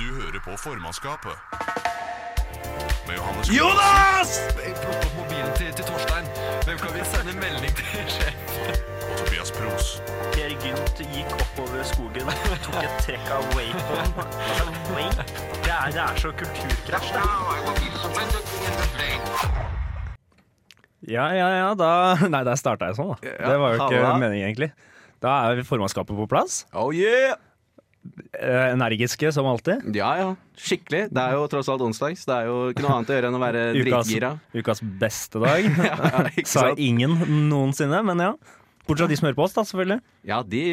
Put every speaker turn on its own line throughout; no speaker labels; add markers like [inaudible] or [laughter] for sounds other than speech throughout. Du hører på formannskapet. Med Johannes
Jonas!
Plukk opp mobilen til, til Torstein. Hvem kan vi sende melding til [laughs] sjef?
Karlsen og Tobias Pros.
Per Gynt gikk oppover skogen, tok et trekk av Wacon. Altså, Wake? Det er, det er så kulturkrasj. det.
Ja, ja, ja, da Nei, der starta jeg sånn, da.
Ja,
det var jo ikke
halla.
meningen, egentlig. Da er formannskapet på plass.
Oh yeah!
Eh, Energiske som alltid.
Ja, ja. Skikkelig. Det er jo tross alt onsdag, så det er jo ikke noe annet å gjøre enn å være
[laughs] Ukas,
dritgira.
ukas beste dag,
[laughs] Ja, ikke
[laughs] sa
sant?
ingen noensinne. Men ja. Bortsett fra de som hører på oss, da, selvfølgelig.
Ja, de,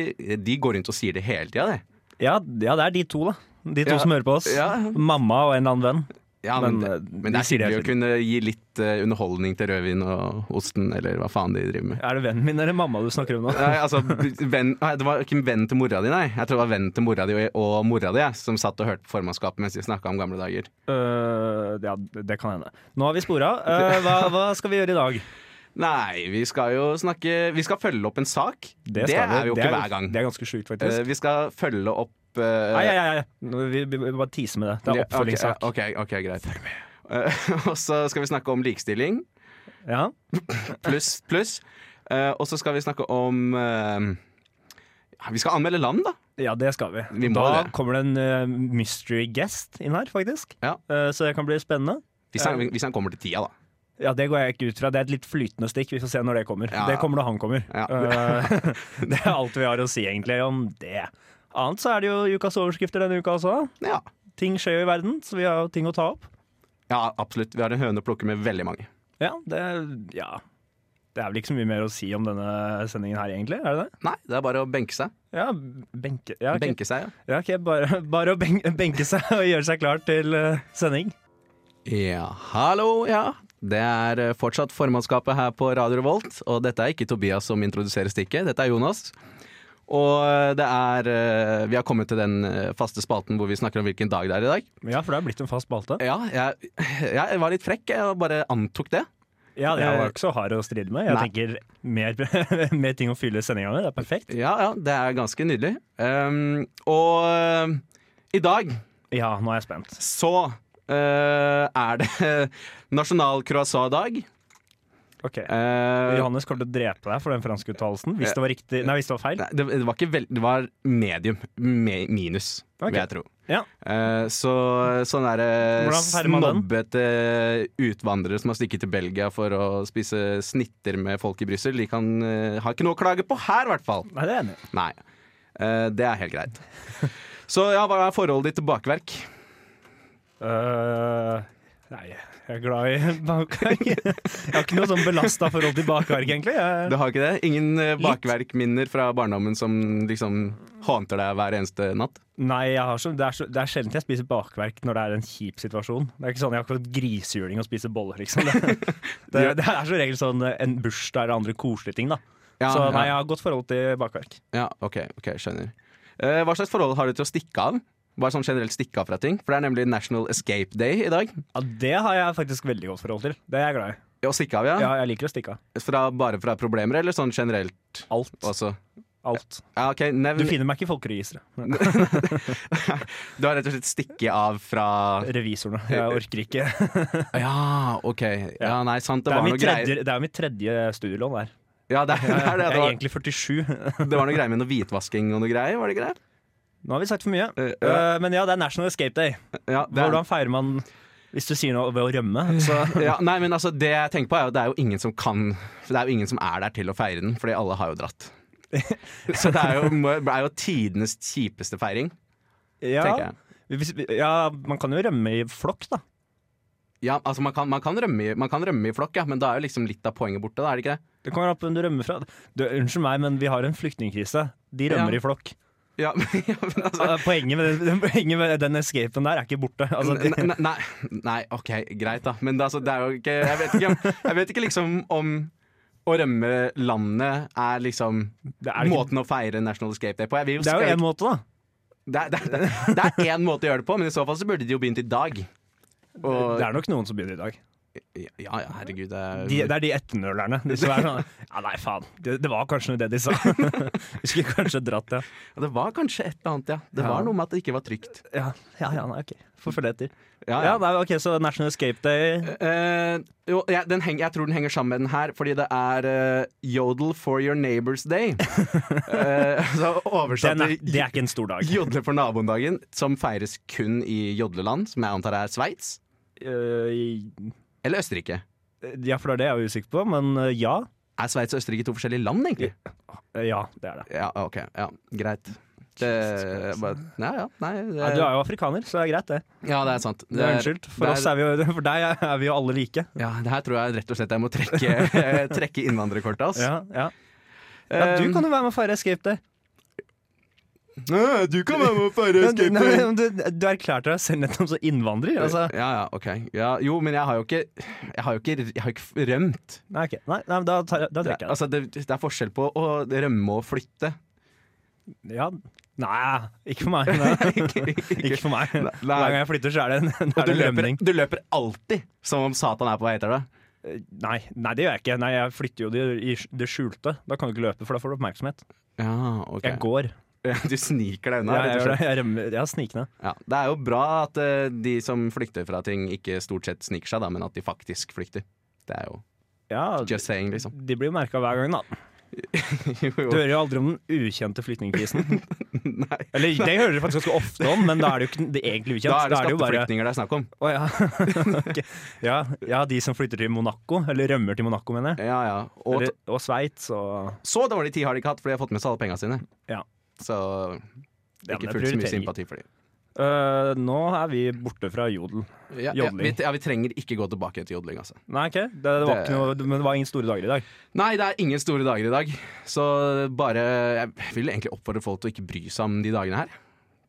de går rundt og sier det hele tida, det.
Ja, ja, det er de to, da. De to
Ja,
som hører på oss.
ja.
Mamma og en eller annen venn.
Ja, men,
Men,
det,
eh,
men
de
det er
sier det
hyggelig
hele
å kunne gi litt eh, underholdning til rødvin og osten, eller hva faen de driver med.
Er det vennen min eller mamma du snakker om nå?
Nei, altså, [laughs] venn, nei, det var ikke en venn til mora di, nei. Jeg tror det var vennen til mora di og, og mora di jeg, som satt og hørte på formannskapet mens de snakka om gamle dager.
[laughs] Øh, ja, det kan hende. Nå har vi [laughs] spora. Øh, hva, hva skal vi gjøre i dag?
Nei, vi skal jo snakke Vi skal følge opp en sak. Det,
skal
er jo
Det
ikke hver gang.
Det er ganske sjukt, faktisk.
Eh, vi skal følge opp eh,
Nei, nei, nei, nei. Vi, vi, vi bare teaser med det. Det
ja,
er
ok,
oppfølgingssak.
ja, Ok, ok, greit. Eh, [laughs] og så skal vi snakke om likestilling,
Ja.
pluss, pluss. Eh, og så skal vi snakke om eh, ja, Vi skal anmelde land, da.
ja, det skal vi.
Vi må
da
det.
kommer det en eh, mystery guest inn her, faktisk.
Ja.
Eh, så det kan bli spennende.
Hvis han,
Eh.
hvis han kommer til tida, da.
Ja, Det går jeg ikke ut fra. Det er et litt flytende stikk. Vi får se når det kommer.
Ja.
Det kommer når han kommer.
Ja.
Eh, [laughs] det er alt vi har å si egentlig om det. Annet så er det jo ukas overskrifter denne uka også.
Ja.
Ting skjer jo i verden, så vi har jo ting å ta opp.
ja, absolutt. Vi har en høne å plukke med veldig mange.
Ja, det, ja. det er vel ikke så mye mer å si om denne sendingen her, egentlig? Er det det?
Nei, det er bare å benke seg.
Ja, benke... Ja, ok.
Benke seg, ja.
Ja, ok, bare, bare å ben benke seg og gjøre seg klar til eh, sending.
Ja, hallo, ja. Det er eh, fortsatt formannskapet her på Radio Revolt, og dette er ikke Tobias som introduserer stikket, dette er Jonas. Og eh, det er eh, Vi har kommet til den eh, faste spalten hvor vi snakker om hvilken dag det er i dag.
Ja, for det er blitt en fast spalte.
Ja, jeg, jeg var litt frekk. Jeg bare antok det.
Ja, det var ikke så hard å stride med. Jeg
Nei.
tenker mer, [laughs] mer ting å fylle sendinga med. Det er perfekt.
Ja, ja, det er ganske nydelig. Um, og eh, i dag
Ja, nå er jeg spent.
så eh, er det [laughs] nasjonal croissant-dag.
Ok.
Eh,
Johannes kommer til å drepe deg for den franske uttalelsen. Hvis det var riktig Nei, hvis det var feil.
nei, det, det var ikke vel, Det var medium. Me, minus,
Ok.
vil jeg tro.
Ja.
Eh, så sånn derre
Hvordan feirer man den?
snobbete utvandrere som har stikket til Belgia for å spise snitter med folk i Brussel, de kan, eh, har ikke noe å klage på her, i hvert fall.
Nei, det er jeg enig. i.
Nei. Eh, det er helt
[laughs]
greit. Så ja, hva er forholdet ditt til bakverk?
Øh, nei, jeg er glad i bakverk. Jeg har ikke noe sånn belasta forhold til bakverk, egentlig. Jeg,
Du har ikke det? Ingen eh, bakverkminner fra barndommen som liksom hånter deg hver eneste natt?
nei, jeg har så, det, er så, det er sjelden jeg spiser bakverk når det er en kjip situasjon. Det er ikke sånn jeg har akkurat grisehjuling og spiser boller, liksom. [laughs] Det, det, det er som regel sånn en bursdag eller andre koselige ting, da.
Ja,
så nei, jeg
ja.
har godt forhold til bakverk.
ja ok, ok, skjønner. Eh, hva slags forhold har du til å stikke av? Bare sånn generelt stikke av fra ting? For det er nemlig National Escape Day i dag.
Ja, Det har jeg faktisk veldig godt forhold til. Det er jeg glad i.
Å stikke av, ja?
Ja, jeg liker å stikke av.
Fra, bare fra problemer, eller sånn generelt
Alt.
også?
Alt.
Ja, ok,
Du
nevn
finner meg ikke i folkeregisteret.
Du har rett og slett stikke av fra
Revisorene. Jeg orker [laughs] ikke.
Ja, ok. Ja, nei, sant, det,
Det er
var
mitt
noe greier.
tredje, det er mitt tredje studielån der.
Ja, det, er- [laughs] det er det.
Jeg
Det
er
var,
egentlig 47.
det var noe greier med noe hvitvasking og noe greier, var det ikke det?
Nå har vi sagt for mye.
Eh, ja.
Eh, Men ja, det er National Escape Day.
Ja, det er,
Hvordan feirer man hvis du sier noe ved å rømme?
[laughs]
Så
ja, nei, men altså, det jeg tenker på er jo at det er jo ingen som kan for Det er jo ingen som er der til å feire den, fordi alle har jo dratt.
[laughs]
Så det er jo, må- det er jo tidenes kjipeste feiring, tenker
ja,
jeg.
hvis, ja, man kan jo rømme i flokk, da.
Ja, altså man kan, man, kan rømme, i- man kan rømme i flokk, ja, men da er jo liksom litt av poenget borte, da, er det ikke det?
Det kommer an på hvem du rømmer fra. Du, unnskyld meg, men vi har en flyktningkrise. De rømmer
Ja.
i
[laughs]
flokk.
Ja, men, ja, men altså
Eh, Poenget med, den, [laughs] poenget med den escapen der er ikke borte. Altså, de,
Nei, nei, nei, ok, greit da. Men det, altså, det er jo ikke Jeg vet ikke, om- jeg vet ikke liksom om å rømme landet er liksom
det er, ikke,
måten å feire National Escape Day på. Jeg vil jo
det er jo
skal-
én måte, da.
det, er, det, er, det er én måte å gjøre det på, men i så fall så burde de jo begynt i dag. Og,
Det er nok noen som begynner i dag.
Ja, ja, herregud. Det er,
De, det er de etternølerne. De som er
[laughs]
sånn Ja, nei, faen. Det, det var kanskje det de sa. Vi skulle kanskje dratt, ja.
Ja, det var kanskje et eller annet, ja. Det
Ja.
var noe med at det ikke var trygt.
Ja, ja, ja nei, OK. Får følge etter.
Ja,
Ja, nei, OK, så National Escape Day.
Eh, jo, jeg, den heng, jeg tror den henger sammen med den her, fordi det er eh, Yodel for your neighbors
[laughs]
day. Eh, så oversatt
Den er,
til
det er ikke en stor dag.
Jodle for naboendagen, som feires kun i jodleland, som jeg antar er Sveits.
Eh,
Eller Østerrike.
ja, for det er det jeg er usikker på, men eh, ja.
Er Sveits og Østerrike to forskjellige land, egentlig?
Eh, Ja, det er det.
Ja, ok. Ja, greit. Det, bare, ja, ja, nei, det,
Ja, altså. du er jo afrikaner, så det er greit, det.
ja, det er sant.
det er, unnskyld. For, oss er vi, jo- [laughs] for deg er vi jo alle like.
Ja, det her tror jeg rett og slett jeg må
[laughs]
trekke, eh, trekke innvandrerkortet, ass. Eh,
Ja, ja. ja, du
Um,
kan jo være med og feire Escape Day.
Nei, du kan være med og feire
Men, nei, men du, du erklærte deg selv nettopp som innvandrer. Altså.
Ja, ja, ok. Ja, jo, men jeg har jo ikke Jeg har jo ikke, jeg har ikke rømt.
Nei, ok. nei, nei, men da, tar, jeg- da
Det,
trekker jeg
altså, det, det er forskjell på å rømme og flytte.
det. Ja. Nei, ikke for meg. Nei. Ikke for meg.
Nei.
Hver gang jeg flytter, så er det en, er
Du
det en
løper,
rømning.
du løper alltid som om Satan er på vei etter deg.
Nei, nei, det gjør jeg ikke. Nei, jeg flytter jo det i det skjulte. Da kan du ikke løpe, for da får du oppmerksomhet.
Ja, ok.
Jeg går.
[laughs] Du sniker deg unna. rett
jeg,
og
gjør det.
slett.
jeg, rømmer. jeg er snikende.
Ja, det er jo bra at eh, de som flykter fra ting, ikke stort sett sniker seg, da, men at de faktisk flykter. Det er jo
Ja,
just saying,
[laughs]
liksom.
de blir jo merka hver gang, da.
Jo, jo.
Du hører jo aldri om den ukjente flyktningkrisen.
[laughs] Nei.
Eller det hører du faktisk ganske ofte om, men da er det jo ikke det er egentlig ukjent.
Da er det
jo bare-
skatteflyktninger det er snakk om.
Å ja. [laughs] Ok. ja. Ja, de som flytter til Monaco, eller rømmer til Monaco, mener jeg.
Ja, ja. Og
Eller, og Sveits og
så dårlig tid har de ikke hatt, for de har fått med seg alle penga sine.
Ja.
Så
Ja, men det
ikke fullt
er
så mye
prioritering.
sympati for dem.
Øh, nå er vi borte fra jodel.
Ja, ja, vi,
Jodling.
ja, vi trenger ikke gå tilbake til jodling, altså.
Nei, ok. Det, det var
Det-
ikke noe, men det var ingen store dager i dag.
Nei, det er ingen store dager i dag. Så bare Jeg vil egentlig oppfordre folk til å ikke bry seg om de dagene her.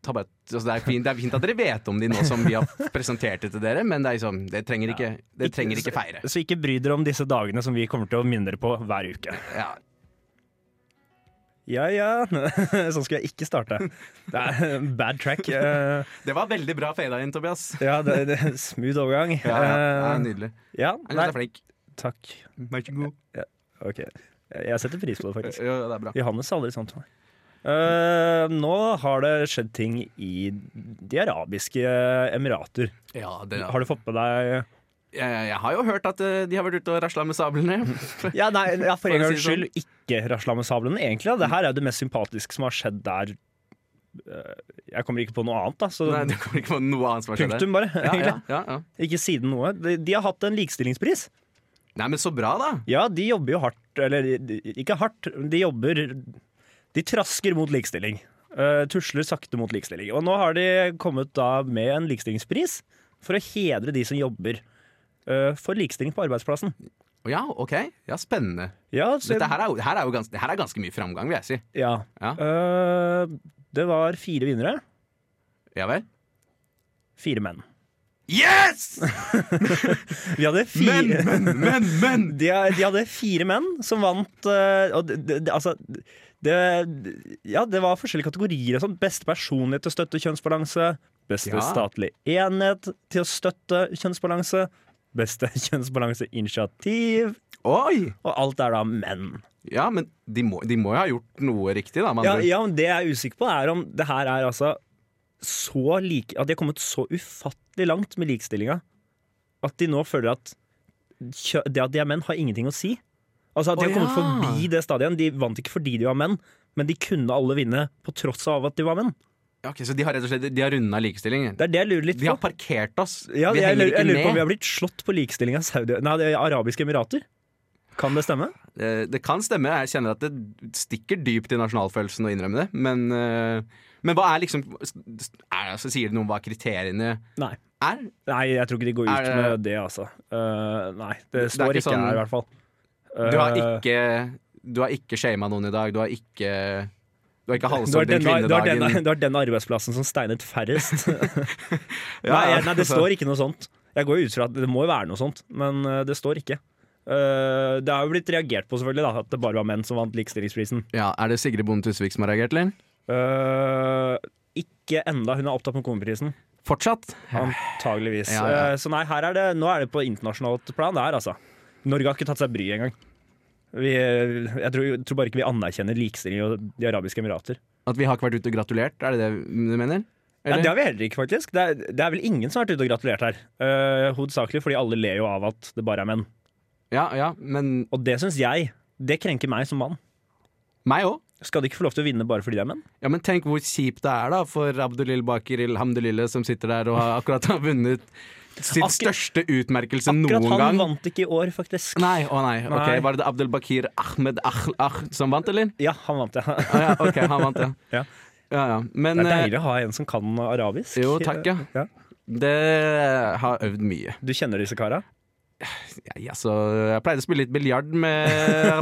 Ta bare, altså det, er fint, det er fint at dere vet om de nå som vi har presentert det til dere, men det, er liksom, det trenger ikke, det trenger ikke feire.
Så ikke bry dere om disse dagene som vi kommer til å minne dere på hver uke.
Ja.
Ja, ja. [laughs] Sånn skulle jeg ikke starte. Det er en bad track. Øh,
Det var veldig bra fada inn, Tobias.
ja, det, det, smooth overgang.
Ja, ja, det er
Øh,
Nydelig.
ja,
Jeg
nei,
syns du er flink.
takk.
Vær så god.
Ok. Jeg setter pris på det, faktisk.
Jo, det er bra.
Johannes sa aldri sånt til meg. Eh, nå har det skjedd ting i de arabiske eh, emirater.
Ja, det,
Har du fått med deg
jeg, jeg har jo hørt at eh, de har vært ute og rasla med sablene.
Ja, nei, ja,
For
for
å
en gangs
si
skyld
det sånn.
ikke rasla med sablene, egentlig. Da. Det her er jo det mest sympatiske som har skjedd der. Eh, Jeg kommer ikke på noe annet, da. Så
[laughs] Nei, det kommer ikke på noe annet som har skjedd her.
punktum, bare.
Ja, ja,
egentlig.
ja, ja.
Ikke siden noe. De, de har hatt en likestillingspris.
Nei, men så bra, da.
Ja, de jobber jo hardt. Eller de- ikke hardt, men de jobber De trasker mot likestilling. Eh, tusler sakte mot likestilling. Og nå har de kommet da med en likestillingspris for å hedre de som jobber eh, for likestilling på arbeidsplassen.
Ja, OK. Ja, spennende.
Ja, så,
Dette her er, jo- her er jo ganske, her er ganske mye framgang, vil jeg si.
ja.
Ja.
Eh, det var fire vinnere.
Ja vel?
Fire menn.
Yes!
Vi
[laughs] Men,
hadde fire
men, men, men!
[laughs] de, de hadde fire menn som vant eh, og det, det, det- Altså det, Ja, det var forskjellige kategorier. og Sånn. Beste personlighet til å støtte kjønnsbalanse. Beste
Ja.
statlig enhet til å støtte kjønnsbalanse. Beste [laughs] kjønnsbalanseinitiativ.
Oi!
Og alt er da menn.
Ja, men de må, de må jo ha gjort noe riktig, da. med
Ja,
andre ord.
ja, men Det jeg er usikker på, er om det her er altså så like At de har kommet så ufattelig langt med likestillinga at de nå føler at kjø- det at de er menn, har ingenting å si. Altså at De
Å,
har kommet
ja.
forbi det stadiet. De vant ikke fordi de var menn, men de kunne alle vinne på tross av at de var menn.
Ja, ok, så de har rett og slett De har runda likestillingen?
Det er det jeg lurer litt
De
på.
har parkert oss.
Ja,
vi
jeg,
henger
lurer,
ikke
jeg lurer på om vi
med.
har blitt slått på likestillinga av Saudi... Nei, det er Arabiske Emirater. Kan det stemme?
Eh, Det kan stemme. Jeg kjenner at det stikker dypt i nasjonalfølelsen å innrømme det. Men, eh, men hva er liksom er, altså, Sier det noe om hva kriteriene
Nei.
er?
Nei, jeg tror ikke de går ut
Er det-
med det, altså. Eh, nei, det
Det er
står
ikke
ikke,
sånn-
her, i hvert fall.
Du har
Eh,
ikke Du har ikke shama noen i dag. Du har ikke Du har ikke
Det var,
halshogd Altså, den
denne, det, var denne,
kvinnedagen.
det var den arbeidsplassen som steinet færrest. [laughs] nei,
[laughs] Ja,
jeg- nei, det
altså.
står ikke noe sånt. Jeg går jo ut fra at det må jo være noe sånt, men eh, det står ikke. Eh, det har jo blitt reagert på, selvfølgelig, da, at det bare var menn som vant likestillingsprisen.
Ja, Er det Sigrid Bonde Tusvik som har reagert, eller?
Eh, ikke enda, hun er opptatt med komeprisen.
Fortsatt.
Antageligvis.
Ja, ja.
Eh, Så nei, her er det, nå er det på internasjonalt plan. Det er altså. Norge har ikke tatt seg bryet engang. Vi, eh, jeg, tror, jeg tror bare ikke vi anerkjenner likestilling og De arabiske emirater.
At vi har ikke vært ute og gratulert, er det det du mener?
Ja,
Eller?
det har vi heller ikke, faktisk. Det er, det er vel ingen som har vært ute og gratulert her. Eh, hovedsakelig fordi alle ler jo av at det bare er menn.
ja, ja, men
Og det syns jeg Det krenker meg som mann.
meg òg.
Skal de ikke få lov til å vinne bare fordi de er menn?
Ja, men tenk hvor kjipt det er da for Abdulil Bakir Ilhamdulille som sitter der og har [laughs] akkurat har vunnet sitt
Akkurat-
største utmerkelse
Akkurat
noen
han
gang.
vant ikke i år, faktisk.
Nei, å nei. ok,
Nei.
Var det Abdul Bakir Ahmed Ahl Ahl som vant, eller?
Ja, han vant, ja.
Ah, ja, ok, han vant, ja.
Ja.
ja, ja.
[laughs]
Men
Det er
eh,
deilig å ha en som kan arabisk.
Jo, takk, ja.
Ja.
det har øvd mye.
Du kjenner disse kara?
Jeg, altså, jeg pleide å spille litt biljard med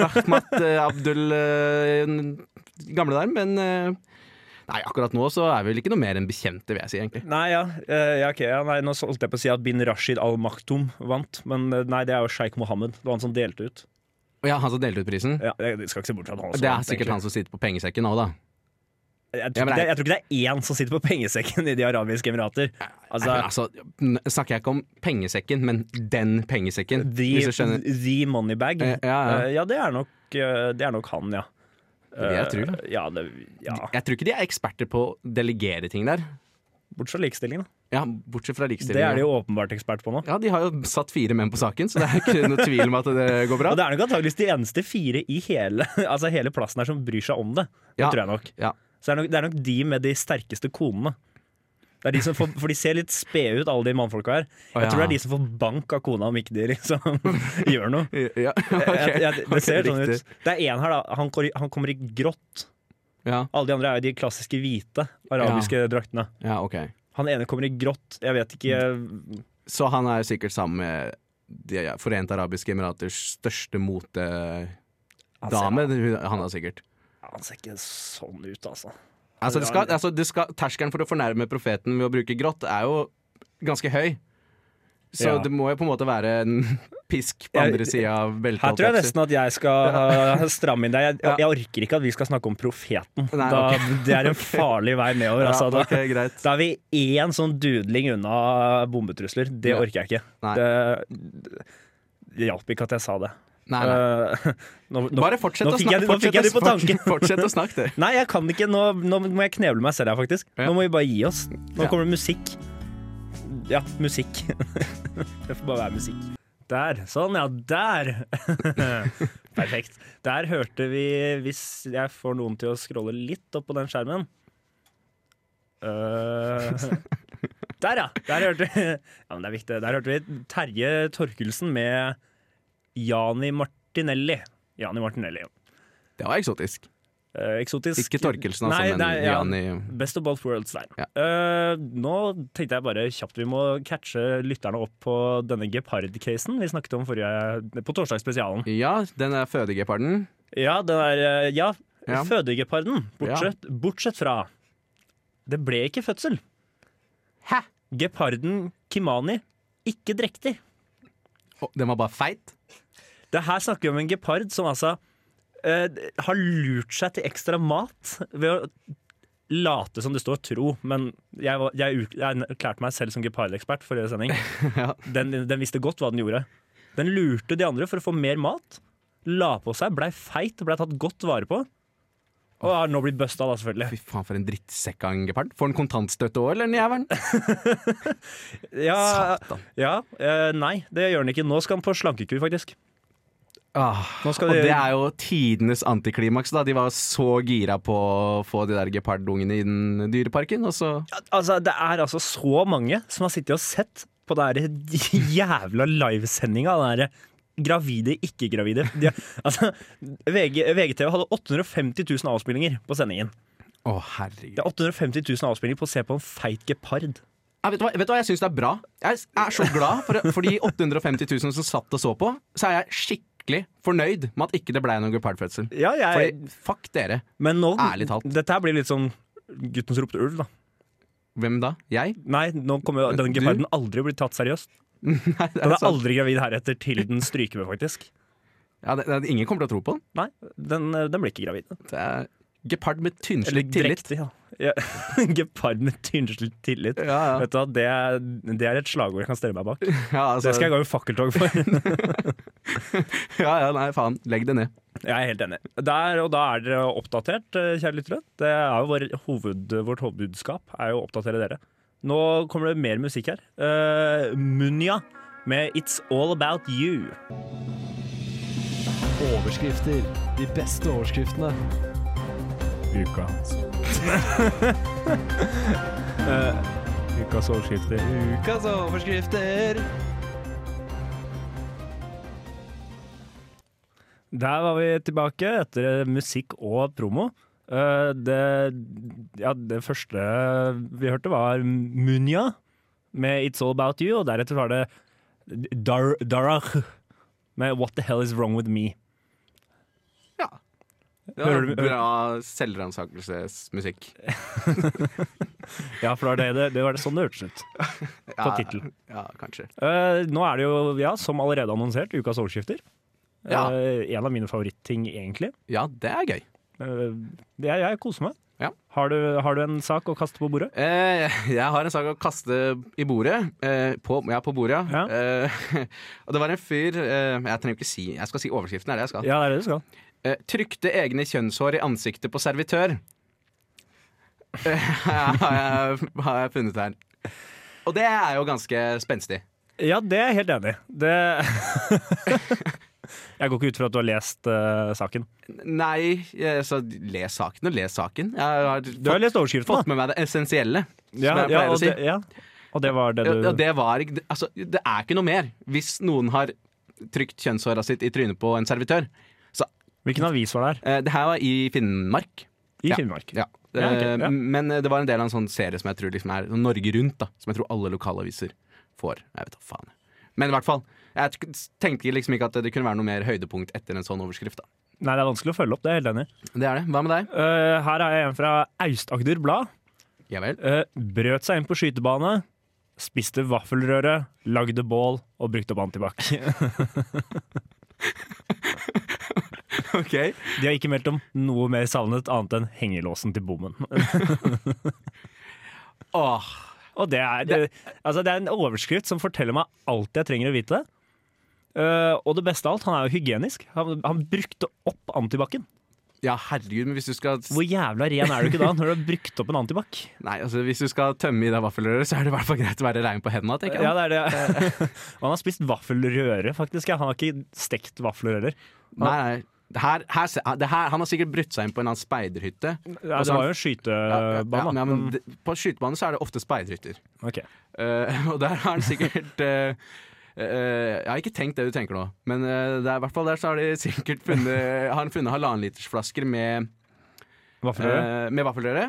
Rahmat eh, Abdul eh, den gamle der, men eh, Nei, akkurat nå så er vi vel ikke noe mer enn bekjente, vil jeg si, egentlig.
Nei, ja. Eh, ja, ok, ja nei, nå holdt jeg på å si at bin Rashid al-Maktoum vant, men eh, nei, det er jo sjeik Mohammed. Det var han som delte ut.
Og ja, han som delte ut prisen?
Ja, jeg, jeg skal ikke se bort fra at han også
Det er
vant,
sikkert han som sitter på pengesekken nå, da.
egentlig. Jeg
Ja,
tror,
men det
ikke det,
er-
jeg tror ikke det er én som sitter på pengesekken i De arabiske emirater.
Nei, men
Altså,
altså, n- snakker jeg ikke om pengesekken, men den pengesekken, hvis du
the,
skjønner.
the Moneybag.
Eh, ja, ja.
Eh, ja det, er nok, eh, det er nok han, ja.
Det vil jeg tro, da.
Eh, Ja, det, ja.
Jeg tror ikke de er eksperter på å delegere ting der.
Bortsett fra likestilling, da.
Ja, bortsett fra
Det
likestilling.
er de jo åpenbart ekspert på nå.
Ja, de har jo satt fire menn på saken, så det er ikke noe tvil om at det går
[laughs]
bra.
Og det er nok antakeligvis de eneste fire i hele, [laughs] altså hele plassen her som bryr seg om det. Det
Ja.
tror jeg nok.
Ja. [laughs]
Så det er nok, det er nok de med de sterkeste konene. Det er de som får, for de ser litt spede ut, alle de mannfolka her.
Å,
Jeg tror
ja.
det er de som får bank av kona om ikke de
[laughs]
liksom gjør noe.
Ja, ok.
Jeg, jeg,
Ok,
det ser sånn
riktig.
ut. Det er én her, da. Han, kor- han kommer i grått.
Ja,
Alle de andre er jo de klassiske hvite arabiske draktene.
ja, ok.
Han ene kommer i grått. Jeg vet ikke
Så han er sikkert sammen med De Forente arabiske emiraters største motedame.
Han ser,
Han er sikkert
han ser ikke sånn ut, altså.
Altså, det skal, altså det skal, terskelen for å fornærme profeten ved å bruke grått er jo ganske høy. Så
Ja.
det må jo på en måte være en [laughs] pisk på
Jeg-
andre sida av beltet.
Her tror jeg
holdt på å si.
nesten at jeg
[laughs]
skal eh, stramme inn deg. Jeg,
Ja.
jeg orker ikke at vi skal snakke om profeten.
Nei,
da,
ok.
[laughs] Det er en farlig vei nedover. Altså,
ja,
da,
ok, greit.
[laughs] da er vi én sånn dudling unna bombetrusler. Det
Ja.
orker jeg ikke.
Nei.
Det, det hjalp ikke at jeg sa det.
Nei, nei.
Eh, [laughs] nå, nå,
Bare fortsett
nå
å
fikk
snakke.
jeg det- Nå fikk jeg det på tanken.
fortsett å snakke, det.
[laughs] Nei, jeg kan ikke. Nå, nå må jeg kneble meg selv her, faktisk.
Ja.
Nå må vi bare gi oss. Nå
Ja.
kommer det musikk. Ja, musikk. [laughs] det får bare være musikk. Der. Sånn, ja. Der! [laughs] Perfekt. Der hørte vi Hvis jeg får noen til å scrolle litt opp på den skjermen Øh, [laughs] Der, ja! Der hørte vi Ja, men det er viktig. Der hørte vi Terje Torkelsen med Jani Martinelli. Jani Martinelli, ja.
Det var eksotisk.
Eh, eksotisk
Ikke Torkelsen, altså,
Nei,
men
nei, ja.
Jani
Best of both worlds der.
Ja.
Eh, nå tenkte jeg bare kjapt vi må catche lytterne opp på denne gepard-casen vi snakket om forrige, på torsdagsspesialen.
Ja, den er fødegeparden.
Ja, den er eh, Ja,
Ja.
fødegeparden. Bortsett, bortsett fra Det ble ikke fødsel.
Hæ?
Geparden Kimani ikke drektig.
Å, den var bare feit?
Det her snakker vi om en gepard som altså eh, har lurt seg til ekstra mat ved å late som det står tro, men jeg, var- jeg, ut- jeg erklærte meg selv som gepardekspert forrige sending.
[laughs] Ja.
Den, den visste godt hva den gjorde. Den lurte de andre for å få mer mat. La på seg, blei feit, blei tatt godt vare på. Og har nå blitt busta, da, selvfølgelig.
Fy faen, for en drittsekk av en gepard. Får den kontantstøtte òg, eller den jævelen?
Ja,
Satan.
ja eh, Nei, det gjør den ikke. Nå skal den på slankekur, faktisk.
Ah,
Nå skal
og
de-
det er jo tidenes antiklimaks, da. De var så gira på å få de der gepardungene i den dyreparken, og så
Altså, det er altså så mange som har sittet og sett på den der [laughs] jævla livesendinga. Den der gravide, ikke-gravide. De- Altså, VG, VGTV hadde 850 000 avspillinger på sendingen.
Å, herregud.
Det er 850 000 avspillinger på å se på en feit
Ja,
gepard.
Ah, vet, du hva, vet du hva, jeg syns det er bra. Jeg er så glad for, for de 850 000 som satt og så på. Så er jeg skikkelig fornøyd med at ikke det ble noen gepardfødsel.
Ja, jeg,
Fordi, fuck dere.
men nå
Ærlig talt.
Dette her blir litt sånn gutten som ropte ulv, da.
Hvem da? Jeg? [laughs]
Nei, nå kommer jo den
Du?
geparden aldri blitt tatt seriøst.
Nei, det
Den
er
er
sant.
aldri gravid heretter til den stryker med, faktisk.
Ja, det, det, ingen kommer til å tro på den.
Nei, den, den blir ikke gravid.
Det er Gepard med tynnslitt
Eller
tillit. [laughs]
drektig, Ja. Ja. [laughs] Gepard med tynnslitt tillit.
Ja, ja.
Vet du hva, det, er- det er et slagord jeg kan stelle meg
[laughs]
bak.
Ja, altså,
Det skal jeg gå i fakkeltog for.
ja, ja, nei, faen. Legg det ned.
Jeg er helt enig. Der, og da er dere oppdatert, eh, kjære lyttere. Det er jo vår hoved, vårt hovedbudskap er jo å oppdatere dere. Nå kommer det mer musikk her. Eh, Munja med 'It's All About You'.
Overskrifter. De beste overskriftene.
Uka. [laughs] Eh, ukas overskrifter.
Ukas overskrifter.
Der var vi tilbake etter musikk og promo. Eh, Det, ja, det første vi hørte, var Munja med 'It's All About You', og deretter var det Dar Darach med 'What The Hell Is Wrong With Me'.
Ja. Det
Hører
var
du-
bra selvransakelsesmusikk.
Ja, for det var det, det, var det sånn det
[laughs]
hørtes ut på
Ja,
tittelen.
ja, kanskje.
Eh, nå er det jo, ja, som allerede annonsert, ukas overskrifter.
Ja.
Eh, en av mine favoritting, egentlig.
Ja, det er gøy.
Eh, jeg, jeg koser meg.
Ja.
Har, du, har du en sak å kaste på bordet?
Eh, jeg har en sak å kaste i bordet. Eh, på, ja, på bordet, ja.
Ja.
Eh, [laughs] og det var en fyr eh, Jeg trenger ikke si Jeg skal si overskriften, er det jeg skal.
Ja, det er det du skal.
Eh, trykte egne kjønnshår i ansiktet på servitør. [laughs] Eh, har, jeg, har jeg funnet her. Og det er jo ganske spenstig.
Ja, det er jeg helt enig i. Det [laughs] Jeg går ikke ut fra at du har lest eh, saken.
Nei, eh, så les saken og les saken. Jeg har
Du har
fått,
lest overskriften,
fått med meg det essensielle,
Ja,
som jeg
ja,
pleier
og
å si.
Det, ja. Og det var det du
Ja, ja, det var ikke- Altså, det er ikke noe mer. Hvis noen har trykt kjønnshåra sitt i trynet på en servitør. Så
Hvilken avis var det her?
eh, det her var i Finnmark.
I
Ja.
Finnmark.
Ja.
Ja, ok,
Eh,
ja.
Men eh, det var en del av en sånn serie som jeg tror liksom er sånn Norge Rundt, da. Som jeg tror alle lokalaviser får. Jeg vet da faen. Men i hvert fall. Jeg t- tenkte liksom ikke at det kunne være noe mer høydepunkt etter en sånn overskrift, da.
Nei, det er vanskelig å følge opp, det er jeg helt enig i.
Det er det. Hva med deg?
Eh, her er jeg en fra Aust-Agder Blad.
Ja vel.
Eh, brøt seg inn på skytebane, spiste vaffelrøre, lagde bål og brukte opp antibac.
[laughs] Ok.
[laughs] De har ikke meldt om noe mer savnet annet enn hengelåsen til bommen.
Åh.
Og det er, altså det er en overskrift som forteller meg alt jeg trenger å vite. Eh, og det beste av alt, han er jo hygienisk. Han, han brukte opp antibac-en.
Ja, herregud, men hvis du skal
Hvor jævla ren er du ikke da når du har brukt opp en antibac?
Nei, altså hvis du skal tømme i deg vaffelrøret, så er det i hvert fall greit å være rein på hendene, tenker jeg.
Ja, det er det. [laughs] Og han har spist vaffelrøre, faktisk. ja. Han har ikke stekt vaffelrører.
Nei, nei. Her, her, se- det her, han har sikkert brutt seg inn på en eller annen speiderhytte.
Ja,
Og
det
så-
var Altså, jo en
ja, ja,
skytebane.
ja, men det- På skytebanen så er det ofte speiderhytter.
Ok.
Eh, [laughs] og der har han sikkert eh, eh, Jeg har ikke tenkt det du tenker nå, men eh, det er, i hvert fall der så har de sikkert funnet, [laughs] har han funnet halvannenlitersflasker med,
Vaffelrøre.
uh, med vaffelrøre.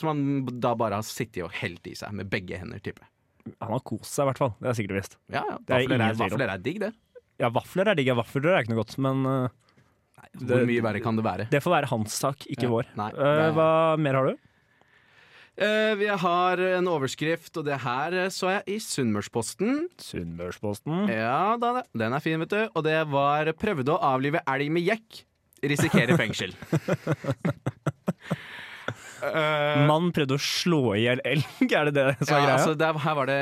Som han da bare har sittet og helt i seg med begge hender, tipper jeg.
Han har kost seg, i hvert fall. Det er sikkert visst.
Ja, ja,
Det er ingen
vaffelrøre er,
tvil om.
vaffelrøre er digg, det.
Ja, vafler er digg. ja, Vaffelrøre er ikke noe godt, men eh,
Hvor mye verre kan det være?
det får være hans sak, ikke
Ja,
vår.
nei, det
Eh,
er-
hva mer har du?
Eh, vi har en overskrift, og det her eh, så jeg i Sunnmørsposten.
Sunnmørsposten.
Ja da, da. den er fin, vet du. Og det var 'prøvde å avlive elg med jekk'. Risikerer
[laughs]
fengsel. Eh,
Mann prøvde å slå i hjel elg, er det det
ja,
som er greia?
altså, det, er- her, var det,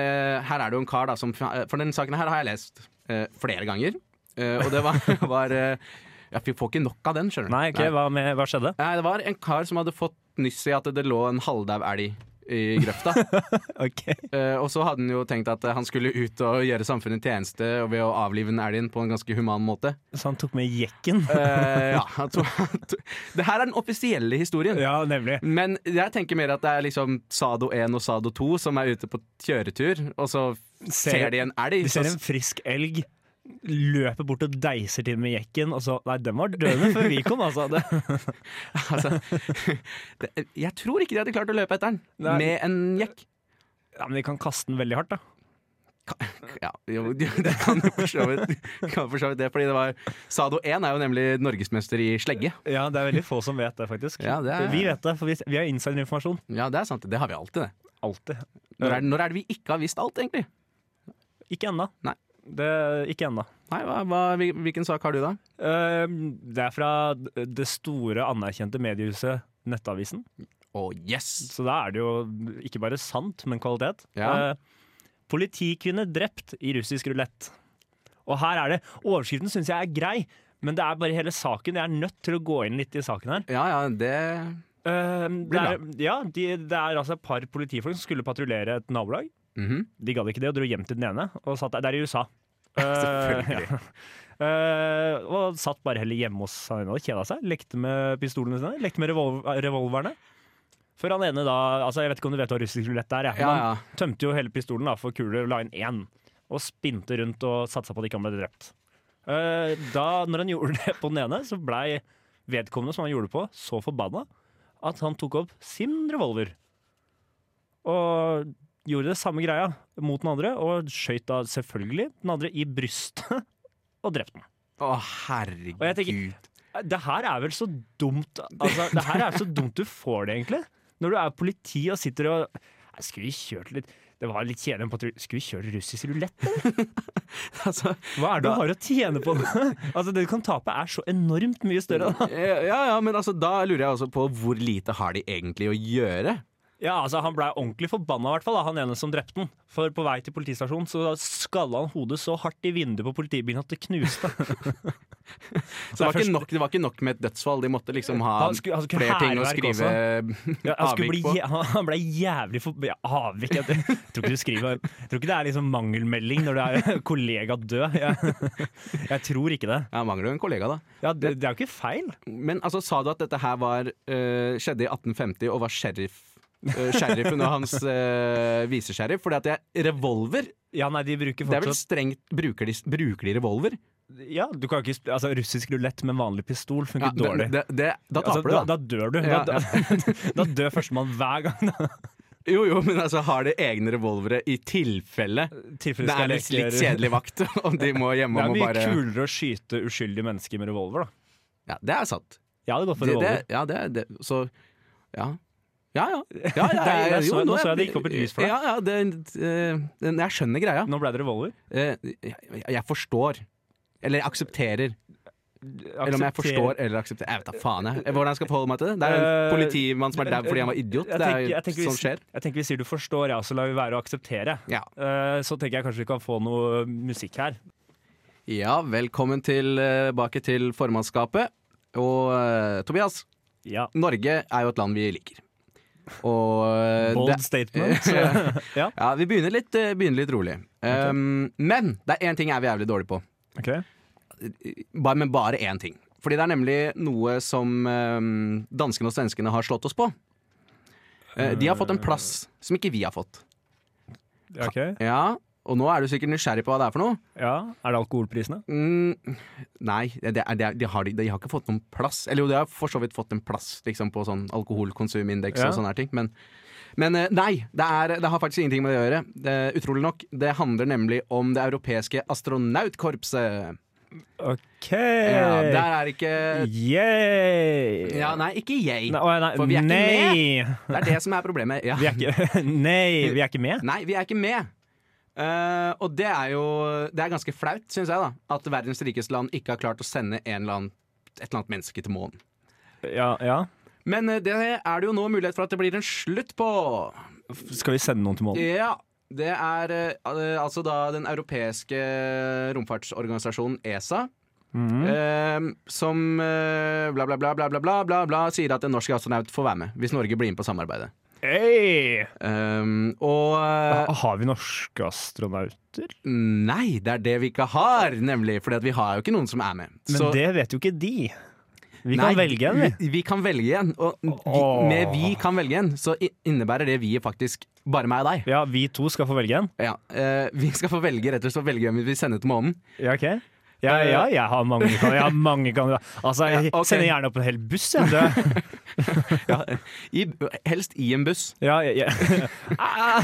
her er det jo en kar da som eh, For den saken her har jeg lest eh, flere ganger. Eh, og det var, [laughs] var eh, Jeg får ikke nok av den, skjønner du.
Nei, ok, Hva, med, hva skjedde?
Nei, det var en kar som hadde fått nyss i at det lå en halvdau elg i grøfta.
[laughs] Ok.
Eh, og så hadde han jo tenkt at eh, han skulle ut og gjøre samfunnet tjeneste ved å avlive den elgen på en ganske human måte.
Så han tok med jekken?
Eh, [laughs] ja, han tok- han tok- det her er den offisielle historien.
[laughs] Ja, nemlig.
Men jeg tenker mer at det er liksom Sado 1 og Sado 2 som er ute på kjøretur, og så
Ser-
ser de en elg.
De ser
så-
en frisk elg, løper bort og deiser til med jekken, og så Nei, den var døende før vi kom, altså. Det,
[laughs] altså, det, jeg tror ikke de hadde klart å løpe etter den
Nei.
med en jekk.
ja, Men de kan kaste den veldig hardt, da.
Ja, jo, [laughs] det kan jo for så vidt kan for så vidt det, fordi det var Sado 1 er jo nemlig norgesmester i slegge.
Ja, Det er veldig få som vet det, faktisk.
Ja, det er-
Vi vet det, for vi, vi har insiderinformasjon.
Ja, det er sant. Det har vi alltid, det.
Alltid.
Når er, når er det vi ikke har visst alt, egentlig?
Ikke ennå.
Nei.
Det, ikke ennå.
Nei, hva, hva, hvil- Hvilken sak har du, da?
Eh, det er fra det store, anerkjente mediehuset Nettavisen.
Å, yes!
Så da er det jo ikke bare sant, men kvalitet.
Ja.
Eh, politikvinne drept i russisk rulett. Og her er det Overskriften syns jeg er grei, men det er bare hele saken. Jeg er nødt til å gå inn litt i saken her.
Ja, ja, det
Eh, det, er, ja, de, det er altså et par politifolk som skulle patruljere et nabolag.
Mhm.
De gadd ikke det og dro hjem til den ene. Og satt der, det er i USA. Eh,
[laughs] Selvfølgelig.
ja. Eh, [laughs] og satt bare heller hjemme hos han ene og kjeda seg. Lekte med pistolene sine, lekte med revol revolverne. Før han ene da altså Jeg vet ikke om du vet hva russisk rulett er? jeg, men
Ja,
han
ja.
Tømte jo hele pistolen da for kuler og la inn én. Og spinte rundt og satsa på at ikke han ble drept. Eh, da, når han [laughs] gjorde det på den ene, så blei vedkommende som han gjorde det på, så forbanna at han tok opp sin revolver. Og gjorde det samme greia mot den andre, og skjøt da selvfølgelig den andre i brystet [laughs] og drepte den.
Å, herregud.
Og jeg tenker- [laughs] Det her er vel så dumt altså, Det her er så dumt du får det, egentlig. Når du er politi og sitter og Nei, Skulle vi kjørt litt Det var litt kjedelig på Skulle vi kjøre russisk rulett, eller?
altså,
Hva er det
Da-
du har å tjene [laughs] på? altså, det du kan tape, er så enormt mye større. Da.
ja, ja, men altså, da lurer jeg også på hvor lite har de egentlig å gjøre?
Ja, altså Han blei ordentlig forbanna, i hvert fall, da, han ene som drepte den. For på vei til politistasjonen så skalla han hodet så hardt i vinduet på politibilen at det knuste.
Så det var,
først-
ikke nok, det var ikke nok med et dødsfall, de måtte liksom ha
Han skulle- han skulle
flere ting å
hærverk
skrive [laughs]
Ja, han, skulle
avvik
bli,
på.
jæ- han- han ble jævlig for... Ja, avvik jeg tror jeg tror ikke du skriver Jeg tror ikke det er liksom mangelmelding når det er [laughs] kollega død. Jeg, jeg tror ikke det.
Ja, mangler jo en kollega, da.
Ja, det, det er jo ikke feil.
Men altså, sa du at dette her var, eh, skjedde i 1850 og var sheriff, eh, sheriffen og
[laughs]
hans uh, visesheriff? Fordi at det er revolver.
Ja, nei, de bruker
Det er vel
fortsatt
strengt Bruker de, bruker de revolver?
Ja, du kan ikke sp- Altså, russisk rulett med vanlig pistol funker
Ja, det,
dårlig.
det, det, da taper
altså,
du, da.
Da, da dør du.
Ja,
da, da dør førstemann hver gang. [laughs]
Jo, jo, men altså, har de egne revolvere i tilfelle
Tilfelle
det
skal
er litt,
leke-
litt kjedelig vakt, [laughs] og de må
Det
hjemme
er
og
mye
må bare
kulere å skyte uskyldige mennesker med revolver, da.
Ja, det er sant.
Jeg hadde gått for
Det, det,
revolver.
ja, det, det Så Ja. Ja, ja.
[laughs]
ja, ja,
Der- der
jo,
så jeg- nå
er-
så jeg det gikk opp et lys for deg.
Ja, ja, det, eh, den- jeg skjønner greia.
Nå ble det revolver.
Eh, jeg, jeg forstår. Eller jeg aksepterer. Eller om jeg
Aksepter-
forstår eller aksepterer. Jeg vet da faen jeg. hvordan jeg skal forholde meg til det. Det er jo en
Eh,
politimann som er dau fordi han var idiot.
Jeg
Det er
tenker,
jo
jeg, tenker vi,
sånt skjer.
jeg tenker vi sier du forstår, ja, så lar vi være å akseptere.
Ja.
Eh, Så tenker jeg kanskje vi kan få noe musikk her.
ja, velkommen tilbake til formannskapet. Og eh, Tobias,
Ja.
Norge er jo et land vi liker. Og eh,
Bold
det- [laughs]
statement. ja.
Ja, vi begynner litt, eh, begynner litt rolig. Um, men det er én ting jeg er vi jævlig dårlig på. Bare, men bare én ting. Fordi det er nemlig noe som um, danskene og svenskene har slått oss på. Eh, de har fått en plass som ikke vi har fått.
ok.
Ja, Og nå er du sikkert nysgjerrig på hva det er for noe.
Ja. Er det alkoholprisene?
Mm, nei, det er, det er, de, har, de har ikke fått noen plass. Eller jo, de har for så vidt fått en plass liksom, på sånn alkoholkonsumindeks
Ja.
og sånne her ting. Men, men eh, nei, det, er, det har faktisk ingenting med det å gjøre. Det, utrolig nok. Det handler nemlig om det europeiske astronautkorpset.
OK!
Ja, der er ikke
Yeah!
Ja, nei, ikke jeg.
Nei, å, nei,
For vi er ikke
nei.
Det er det som er problemet. Ja.
Vi er ikke, [laughs] nei, vi er ikke med.
Nei, vi er ikke med. Eh, og det er jo Det er ganske flaut, syns jeg, da. At verdens rikeste land ikke har klart å sende en eller annen, et eller annet menneske til månen.
Ja, ja.
Men eh, det er det jo nå mulighet for at det blir en slutt på.
Skal vi sende noen til månen?
Ja, det er eh, al- altså da den europeiske romfartsorganisasjonen ESA.
Mhm.
eh, som eh, bla, bla, bla, bla, bla, bla, bla, bla sier at en norsk astronaut får være med hvis Norge blir med på samarbeidet.
Hey!
Eh, og eh,
Har vi norske astronauter?
nei, det er det vi ikke har, nemlig. For vi har jo ikke noen som er med.
Men
Så-
det vet jo ikke de. Vi kan
Nei,
velge en, vi.
Vi, vi kan velge en. Og vi,
Åh.
med 'vi kan velge en' så i- innebærer det vi faktisk bare meg og deg.
Ja, vi to skal få velge en.
Ja, eh, vi skal få velge rett og slett få velge hvem vi vil sende til månen.
Ja, ok. Ja, ja, jeg har mange kandidater. Jeg har mange kandidater. Altså, jeg
Ja, ok.
sender gjerne opp en hel buss, jeg. Det-
Ja, i, helst i en buss. [laughs]
Ja, [laughs] jeg- jeg- Ah,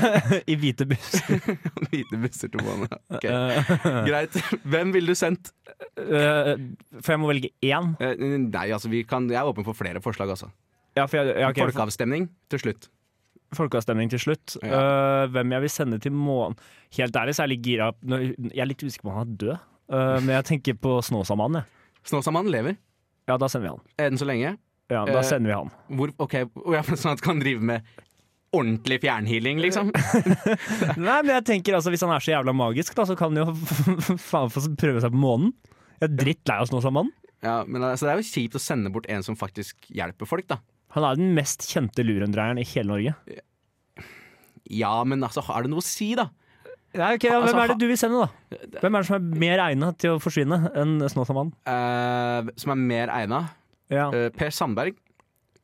I hvite buss.
Hvite busser til månen. Ok,
Eh, [laughs]
Greit. Hvem ville du sendt?
eh, for jeg må velge én.
Eh, nei, altså vi kan, Jeg er åpen for flere forslag, altså.
Ja, for jeg, ja, ok, for-
Folkeavstemning til slutt.
folkeavstemning til slutt. Eh, hvem jeg vil sende til månen Helt ærlig så er jeg litt gira. Nå- Jeg er litt usikker på om han er død, Eh, men jeg tenker på Snåsamannen. jeg.
Snåsamannen lever, eh,
Ja, da sender vi han.
enn så lenge.
Ja, Da sender vi han.
Hvor, ok, og ja, [laughs] Sånn at han kan drive med ordentlig fjernhealing, liksom.
Nei, men jeg tenker altså, Hvis han er så jævla magisk, da, så kan han jo [laughs] faen få prøve seg på månen. Jeg er drittlei oss nå som mann.
Ja, men altså, Det er jo kjipt å sende bort en som faktisk hjelper folk, da.
Han er den mest kjente lurendreieren i hele Norge.
Ja, men altså, har det noe å si, da?
Nei, ok, ja, Hvem er det du vil sende, da? altså, Hvem er det som er mer egnet til å forsvinne enn Snåsamann?
Eh, som er mer egnet?
Ja.
Eh, per Sandberg.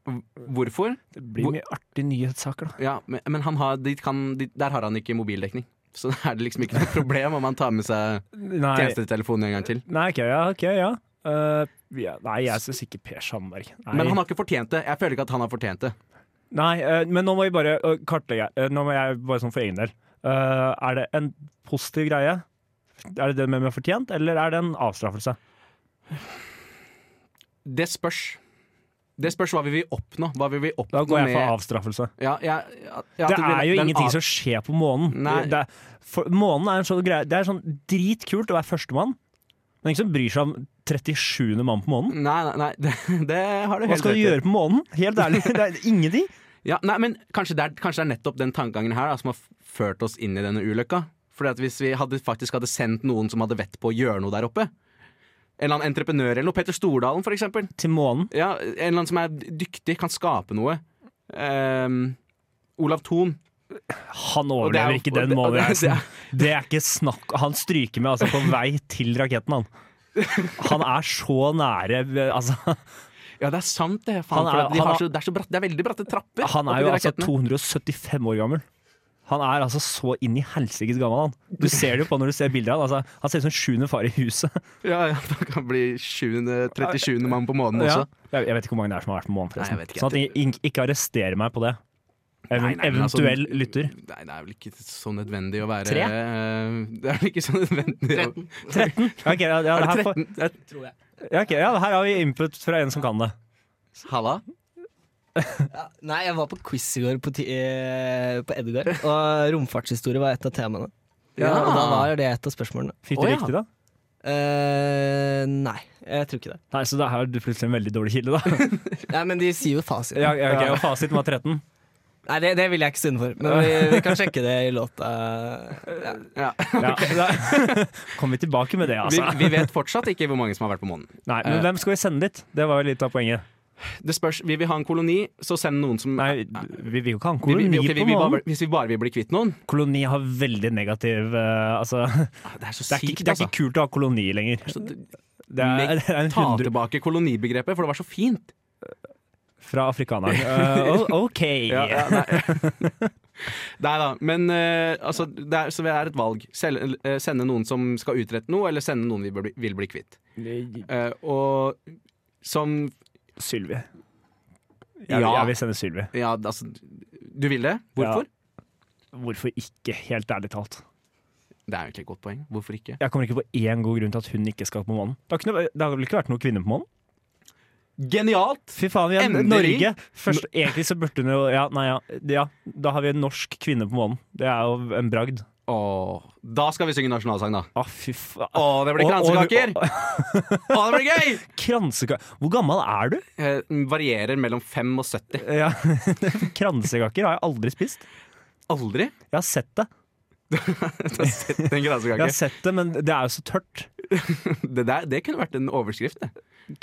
Hvorfor?
Det blir mye artige nyhetssaker, da.
Ja, men, men han har, de kan, de, der har han ikke mobildekning. Så da er det liksom ikke noe [laughs] problem om han tar med seg
Nei.
tjenestetelefonen en gang til.
Nei, ok, ja, ok, ja. Eh, ja nei, jeg syns ikke Per Sandberg. Nei.
Men han har ikke fortjent det. Jeg føler ikke at han har fortjent det.
Nei, eh, men nå må vi bare eh, kartlegge. Eh, Nå må jeg bare sånn for egen del. Eh, er det en positiv greie? Er det det med med fortjent, eller er det en avstraffelse?
Det spørs. Det spørs hva vi vil oppnå. Hva vi vil oppnå
Da går jeg
med-
for avstraffelse.
Ja, jeg- ja, ja,
Det
at du vil-
er jo
den
ingenting
av-
som skjer på månen.
Nei.
Det er, for, månen er en sånn greie Det er sånn dritkult å være førstemann, men ingen som bryr seg om 37. mann på månen.
Nei, nei, [laughs] nei det, det har du
Hva
helt
skal du
rett i.
gjøre på månen? Helt ærlig,
[laughs]
det er ingenting.
Ja, nei, men kanskje det, er, kanskje det er nettopp den tankegangen her da, som har f- ført oss inn i denne ulykka. Fordi at Hvis vi hadde, faktisk hadde sendt noen som hadde vett på å gjøre noe der oppe En eller annen entreprenør eller noe. Petter Stordalen, for eksempel.
Til månen.
Ja, en eller annen som er dyktig, kan skape noe. Ehm, Olav Thon.
Han
Og det er
overlever
jo-
ikke
og det-
den
og [laughs] det-
månereisen.
det
Det er ikke snakk Han stryker med altså, på vei til raketten, han. Han er så nære altså,
Ja, det er sant, det. Faen,
Han er-
for at de
han
har
er-
så, det, er så bratt, det er veldig bratte trapper.
Han
opp i
er jo
de
altså
rakettene.
275 år gammel. Han er altså så inn i helsikes gammel, han.
[laughs]
Du ser det jo på når du ser bilder av han. Altså, han ser ut som sjuende far i huset.
Ja, ja, [laughs] Det kan bli 7., 37. mann på månen også.
Ja. Jeg, jeg vet ikke hvor mange det er som har vært på månen,
Nei, jeg
forresten.
vet ikke.
sånn at jeg, ikke- ikke arrester meg på det. Even,
Nei, nei, men altså-
eventuell
[laughs]
lytter.
Nei, det er vel ikke så nødvendig å være
Tre?
eh, Det er vel ikke så nødvendig å
13. Ja, ok, ja, ja,
Er
her
det
får-
13? Et-
ja, ok, ja, her har vi input fra en som kan det.
Halla?
Ja, nei, jeg var på quiz i går på, ti- eh, på
[laughs]
Edgar, og romfartshistorie var et av temaene. Og da var det et av spørsmålene.
Fikk
Å,
du
ja.
riktig, da?
Eh, nei, jeg tror ikke det.
Nei, Så da har du plutselig en veldig dårlig kilde, da.
Nei, Men de sier jo
[laughs]
fasit.
[laughs] Ja, ja, ok, og fasiten var
[laughs]
13.
Nei, det, det vil jeg ikke stå inne for, men vi, vi kan sjekke det i låta. Ja.
Ja.
Ja, [laughs] da kommer vi tilbake med det,
Vi,
altså.
vi vet fortsatt ikke hvor mange som har vært på månen.
Nei, Men hvem skal vi sende dit? Det var jo litt av poenget.
Det spørs, Vil vi ha en koloni, så send noen som
Nei, vi vil jo ikke ha en
Vi-
koloni
vi- ok, vi-
på
vi
månen.
bare, Hvis vi bare vil bli kvitt noen
Koloni har veldig negativ eh, altså, det,
Det er så
er ikke,
sykt,
det er ikke kult å ha koloni lenger.
altså. Så
Det er, det er en
Ta
hundre
tilbake kolonibegrepet, for det var så fint.
fra [laughs] afrikaneren. Eh, o- OK!
nei. [laughs] nei da, men eh, altså, det er, så det er et valg. Sel, eh, sende noen som skal utrette noe, eller sende noen vi vil bli, vil bli kvitt. Eh, og som
Sylvi. Jeg,
Ja.
jeg vil sende Sylvi.
Ja, altså Du vil det? Hvorfor?
Hvorfor ikke, helt ærlig talt?
Det er jo egentlig et godt poeng. Hvorfor ikke?
Jeg kommer ikke på én god grunn til at hun ikke skal på månen. Det har, ikke, noe- det har vel ikke vært noen kvinne på månen?
Genialt!
Fy faen, vi er
Endelig!
Norge! Først, egentlig så burde hun jo ja, nei, ja, ja, da har vi en norsk kvinne på månen. Det er jo en bragd.
Åh, da skal vi synge nasjonalsang, da.
Å, fy faen.
Å, det blir
Og- og-
kransekaker! Å, det blir gøy! [laughs]
Kranseka... Hvor gammel er du?
Eh, den varierer mellom 5 og 70.
Ja. [laughs] Kransekaker har jeg aldri spist.
Aldri [laughs]
Jeg har sett det,
har jeg sett en
jeg
kransekake.
har sett det men det er jo så tørt.
Det, der, det kunne vært en overskrift. Det.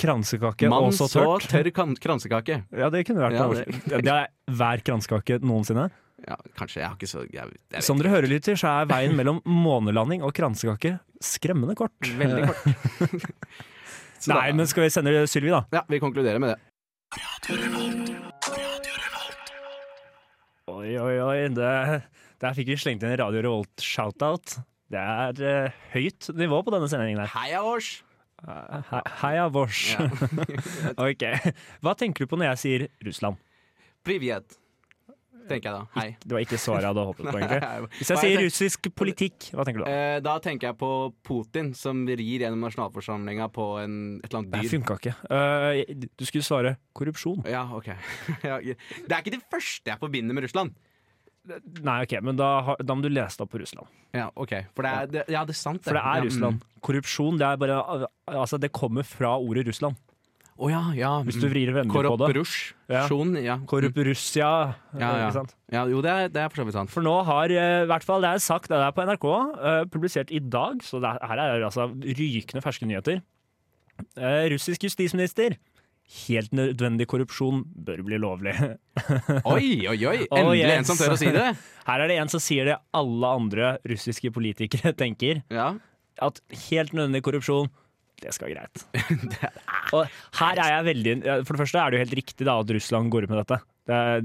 Kransekake
Mann
og så
så
tørt.
tørr kan- kransekake.
Ja, det kunne vært
Ja,
[laughs] en overskrift. det. er hver kransekake noensinne.
Ja, kanskje. Jeg har ikke så jeg, jeg vet
Som dere hører, lytter, så er veien mellom månelanding og kransekake skremmende kort.
ikke. Veldig kort. Så da-
Nei, men skal vi sende Sylvi, da?
Ja, vi konkluderer med det.
Oi, oi, oi. Det, der fikk vi slengt inn en Radio Revolt-shoutout. Det er eh, høyt nivå på denne sendingen her.
Heia oss!
He- Heia vårs.
Ja.
[laughs] Ok. Hva tenker du på når jeg sier Russland?
Privet, tenker jeg da. Hei.
Det var ikke svaret jeg hadde håpet på, egentlig.
Hva har
Hvis jeg
jeg
sier
tenkt?
russisk politikk, hva tenker du da?
Eh, Da tenker jeg på Putin som rir gjennom nasjonalforsamlinga på en, et eller
Det
annet dyr.
funka ikke. Eh, du skulle svare korrupsjon.
Ja, ok [laughs] Ja, ja. Det er ikke det første jeg forbinder med Russland.
Nei, ok, men da, har- da må du lese deg opp på Russland.
Ja, ok For det er, det, ja, det er sant.
For det
Ja, mm.
er Russland. Korrupsjon det er bare Altså, det kommer fra ordet Russland.
mm. Å Å ja, ja.
Hvis du vrir vennlig på det.
Korrupsjon. Ja.
Korup Russia. eh,
Ja,
Ikke sant?
ja. Jo, det er, det er for så vidt sant.
For nå har eh, i hvert fall det er sagt, det er på NRK, eh, publisert i dag, så det er, her er det altså rykende ferske nyheter. Eh, russisk justisminister. Helt nødvendig korrupsjon bør bli lovlig. [laughs]
Oi, oi, oi!
Oh,
Endelig
yes.
en som tør å
[laughs]
si det!
Her er det en som sier det alle andre russiske politikere [laughs] tenker.
Ja.
At helt nødvendig korrupsjon, det skal være [laughs] greit. Og her er jeg veldig For det første er det jo helt riktig da at Russland går ut med dette. Det er,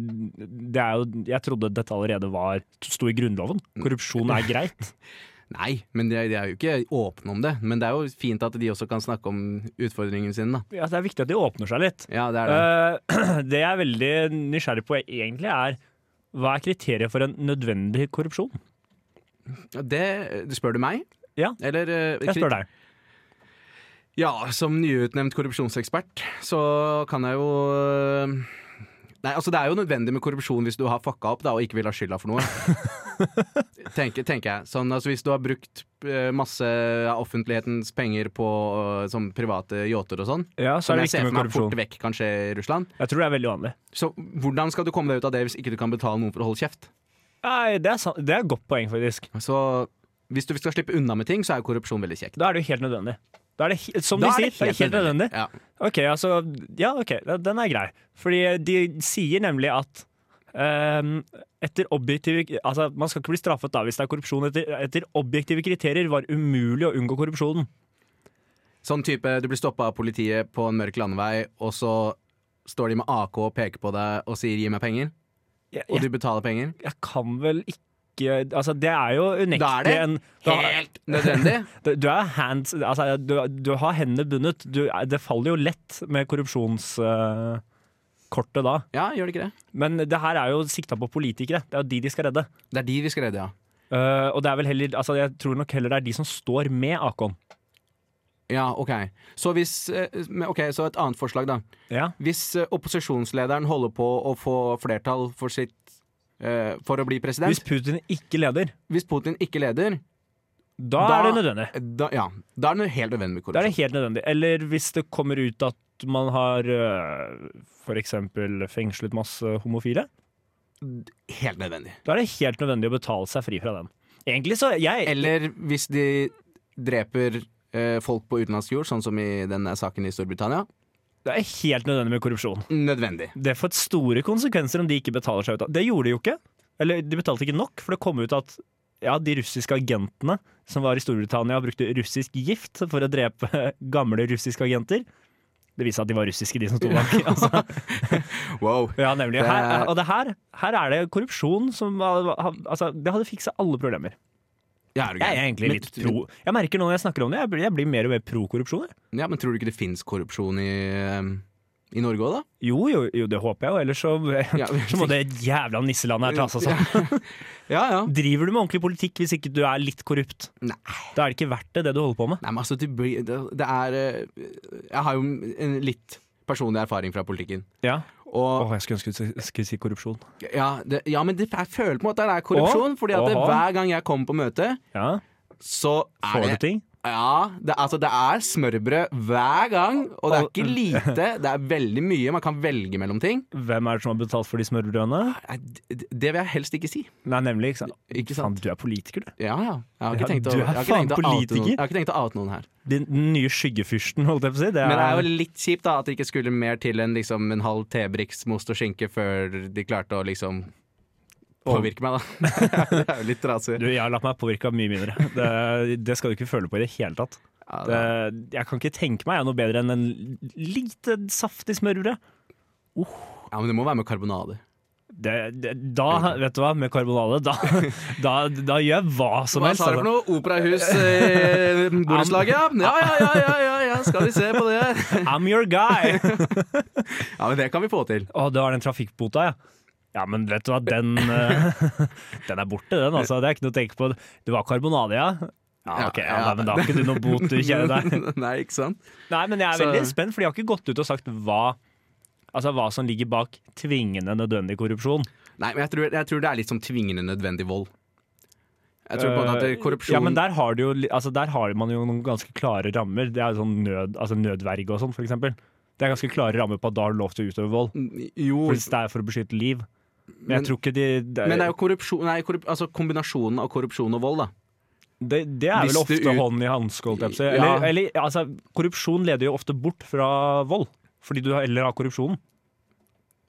det er jo, jeg trodde dette allerede var sto i Grunnloven. Korrupsjon er greit.
Nei, men de er, de er jo ikke åpne om det. Men det er jo fint at de også kan snakke om utfordringene sine, da.
[laughs] Ja, det er viktig at de åpner seg litt.
Ja, det er det.
Eh, [clears throat] Det jeg er veldig nysgjerrig på egentlig, er hva er kriteriet for en nødvendig korrupsjon?
det spør du meg?
Ja.
Eller eh,
Jeg spør deg.
Ja, som nyutnevnt korrupsjonsekspert så kan jeg jo øh, Nei, altså det er jo nødvendig med korrupsjon hvis du har fucka opp da, og ikke vil ha skylda for noe.
[laughs]
tenker, tenker jeg. Sånn, altså Hvis du har brukt øh, masse av offentlighetens penger på øh, sånn private yachter og sånn,
Ja, så
som
er det
jeg ser for
viktig med
meg fort
korrupsjon.
vekk kan skje i Russland,
Jeg tror det er veldig vanlig.
så hvordan skal du komme deg ut av det hvis ikke du kan betale noen for å holde kjeft?
Nei, det er, sant. det er et godt poeng, faktisk.
Så hvis du skal slippe unna med ting, så er jo korrupsjon veldig kjekt.
Da er det jo helt nødvendig. Da er det, he- som de sier, det er helt nødvendig.
Ja.
Ok, altså, ja, ok, den er grei. Fordi eh, de sier nemlig at ehm, etter objektive, altså, man skal ikke bli straffet da hvis det er korrupsjon. Etter, etter objektive kriterier var umulig å unngå korrupsjonen.
Sånn type, du blir stoppa av politiet på en mørk landevei, og så står de med AK og peker på deg og sier 'gi meg penger',
Jeg,
og
jeg,
du betaler penger.
jeg kan vel ikke Altså, det er jo
Da er
unektelig
det
en
Helt nødvendig!
[laughs] Du du er hands Altså, du, du har hendene bundet. Du, det faller jo lett med korrupsjonskortet da.
Ja, gjør det ikke det?
Men det her er jo sikta på politikere. Det er jo de de skal redde.
Det er de vi skal redde, ja.
Eh, og det er vel heller Altså, jeg tror nok heller det er de som står med Akon.
Ja, ok. Så hvis eh, men Ok, så et annet forslag, da.
Ja.
Hvis eh, opposisjonslederen holder på å få flertall for sitt eh, For å bli president
Hvis
Hvis,
Putin ikke leder,
Putin ikke leder,
da,
Da-
er det nødvendig.
da, ja, da er det helt nødvendig med
Da er det
korrupsjon.
helt nødvendig. Eller hvis det kommer ut at man har eh, for eksempel fengslet masse homofile,
Helt nødvendig.
da er det helt nødvendig å betale seg fri fra den. Egentlig så jeg
Eller hvis de dreper eh, folk på utenlandsk jord, sånn som i denne saken i Storbritannia.
Det er helt nødvendig med korrupsjon.
Nødvendig.
Det får store konsekvenser om de ikke betaler seg ut av Det gjorde de jo ikke. Eller de betalte ikke nok, for det kom ut at ja, de russiske agentene som var i Storbritannia og brukte russisk gift for å drepe [laughs] gamle russiske agenter. Det viste seg at de var russiske, de som sto bak. Altså,
Wow.
ja, nemlig.
Det er-
Her, og det her, her er det korrupsjon som altså, Det hadde fiksa alle problemer.
Ja, er du
Jeg er
gæren?
egentlig litt
Men-
pro Jeg merker nå når jeg snakker om det, jeg blir, jeg blir mer og mer pro korrupsjon. jeg.
Ja, men tror du ikke det fins korrupsjon i, eh, i Norge òg, da?
Jo, jo, jo, det håper jeg jo, ellers så,
Ja,
[laughs] så må det jævla nisselandet her ta seg sammen.
Ja, [laughs] ja.
Driver du med ordentlig politikk hvis ikke du er litt korrupt?
Nei.
Da er det ikke verdt det, det du holder på med.
Nei, men altså, det, blir, det, det er eh, Jeg har jo en litt personlig erfaring fra politikken.
Ja.
Og
jeg skulle ønske du s- skulle si korrupsjon.
ja, det, ja men det, jeg føler på en måte at det er korrupsjon, fordi at det,
Åha.
hver gang jeg kommer på møte,
Ja,
så er
Får du
det
ting?
Ja, det, altså det er smørbrød hver gang, og det er ikke lite. Det er veldig mye. Man kan velge mellom ting.
Hvem er det som har betalt for de smørbrødene?
Nei, Det det vil jeg helst ikke si.
Nei, nemlig. Ikke sant?
Ikke
Faen,
sant?
du er politiker, du.
Ja, ja. Jeg har
Ja,
ikke tenkt å,
du er
jeg har ikke
faen
tenkt å oute
politiker.
noen. Jeg har ikke tenkt å oute noen her.
Den den nye skyggefyrsten, holdt jeg på å si. Det er,
Men det er jo litt kjipt da at det ikke skulle mer til enn liksom en halv tebriks most og skinke før de klarte å liksom påvirke meg, da. [laughs] det er jo litt trasig.
du, jeg har latt meg påvirke av mye mindre. Det, det skal du ikke føle på i det hele tatt.
Ja,
Det,
det er-
jeg kan ikke tenke meg jeg er noe bedre enn en lite saftig smørbrød.
ja, men det må være med karbonade.
Det, det, da, vet du hva, med karbonade, da, [laughs] da, da gjør jeg hva som
Hva
helst.
sa du
altså.
for noe? Operahus eh, borettslaget, ja. Ja, ja, ja, ja, ja, ja, skal vi se på det.
I'm your guy!
Ja, men det kan vi få til.
Å, det var den trafikkbota, ja. Ja, men vet du hva, den, eh, den er borte, den. altså. Det er ikke noe å tenke på. Det var karbonade, ja? Ja, ok. Ja,
ja.
nei, men da har ikke du noe bot, du
[laughs]
kjenner deg.
Nei, ikke sant?
Nei, men jeg er
Så-
veldig spent, for de har ikke gått ut og sagt hva, altså, hva som ligger bak tvingende nødvendig korrupsjon.
Nei, men jeg tror, jeg tror det er litt som tvingende nødvendig vold. Jeg tror på en måte at det-
Eh,
korrupsjon
Ja, men der har, du jo, li- altså, der har man jo noen ganske klare rammer. Det er jo sånn nød, altså nødverge og sånn, for eksempel. Det er ganske klare rammer på at da har du lov til å utøve vold.
Jo,
Hvis det er for å beskytte liv. Men, jeg
Men-
tror ikke de det er,
men det er jo korrupsjon Nei, korrup, altså kombinasjonen av korrupsjon og vold, da.
det, det er vel
Hvis
ofte
du ut-
hånd i hanske, holdt jeg på å si.
Ja.
Eller, eller altså, korrupsjon leder jo ofte bort fra vold. Fordi du heller har korrupsjonen.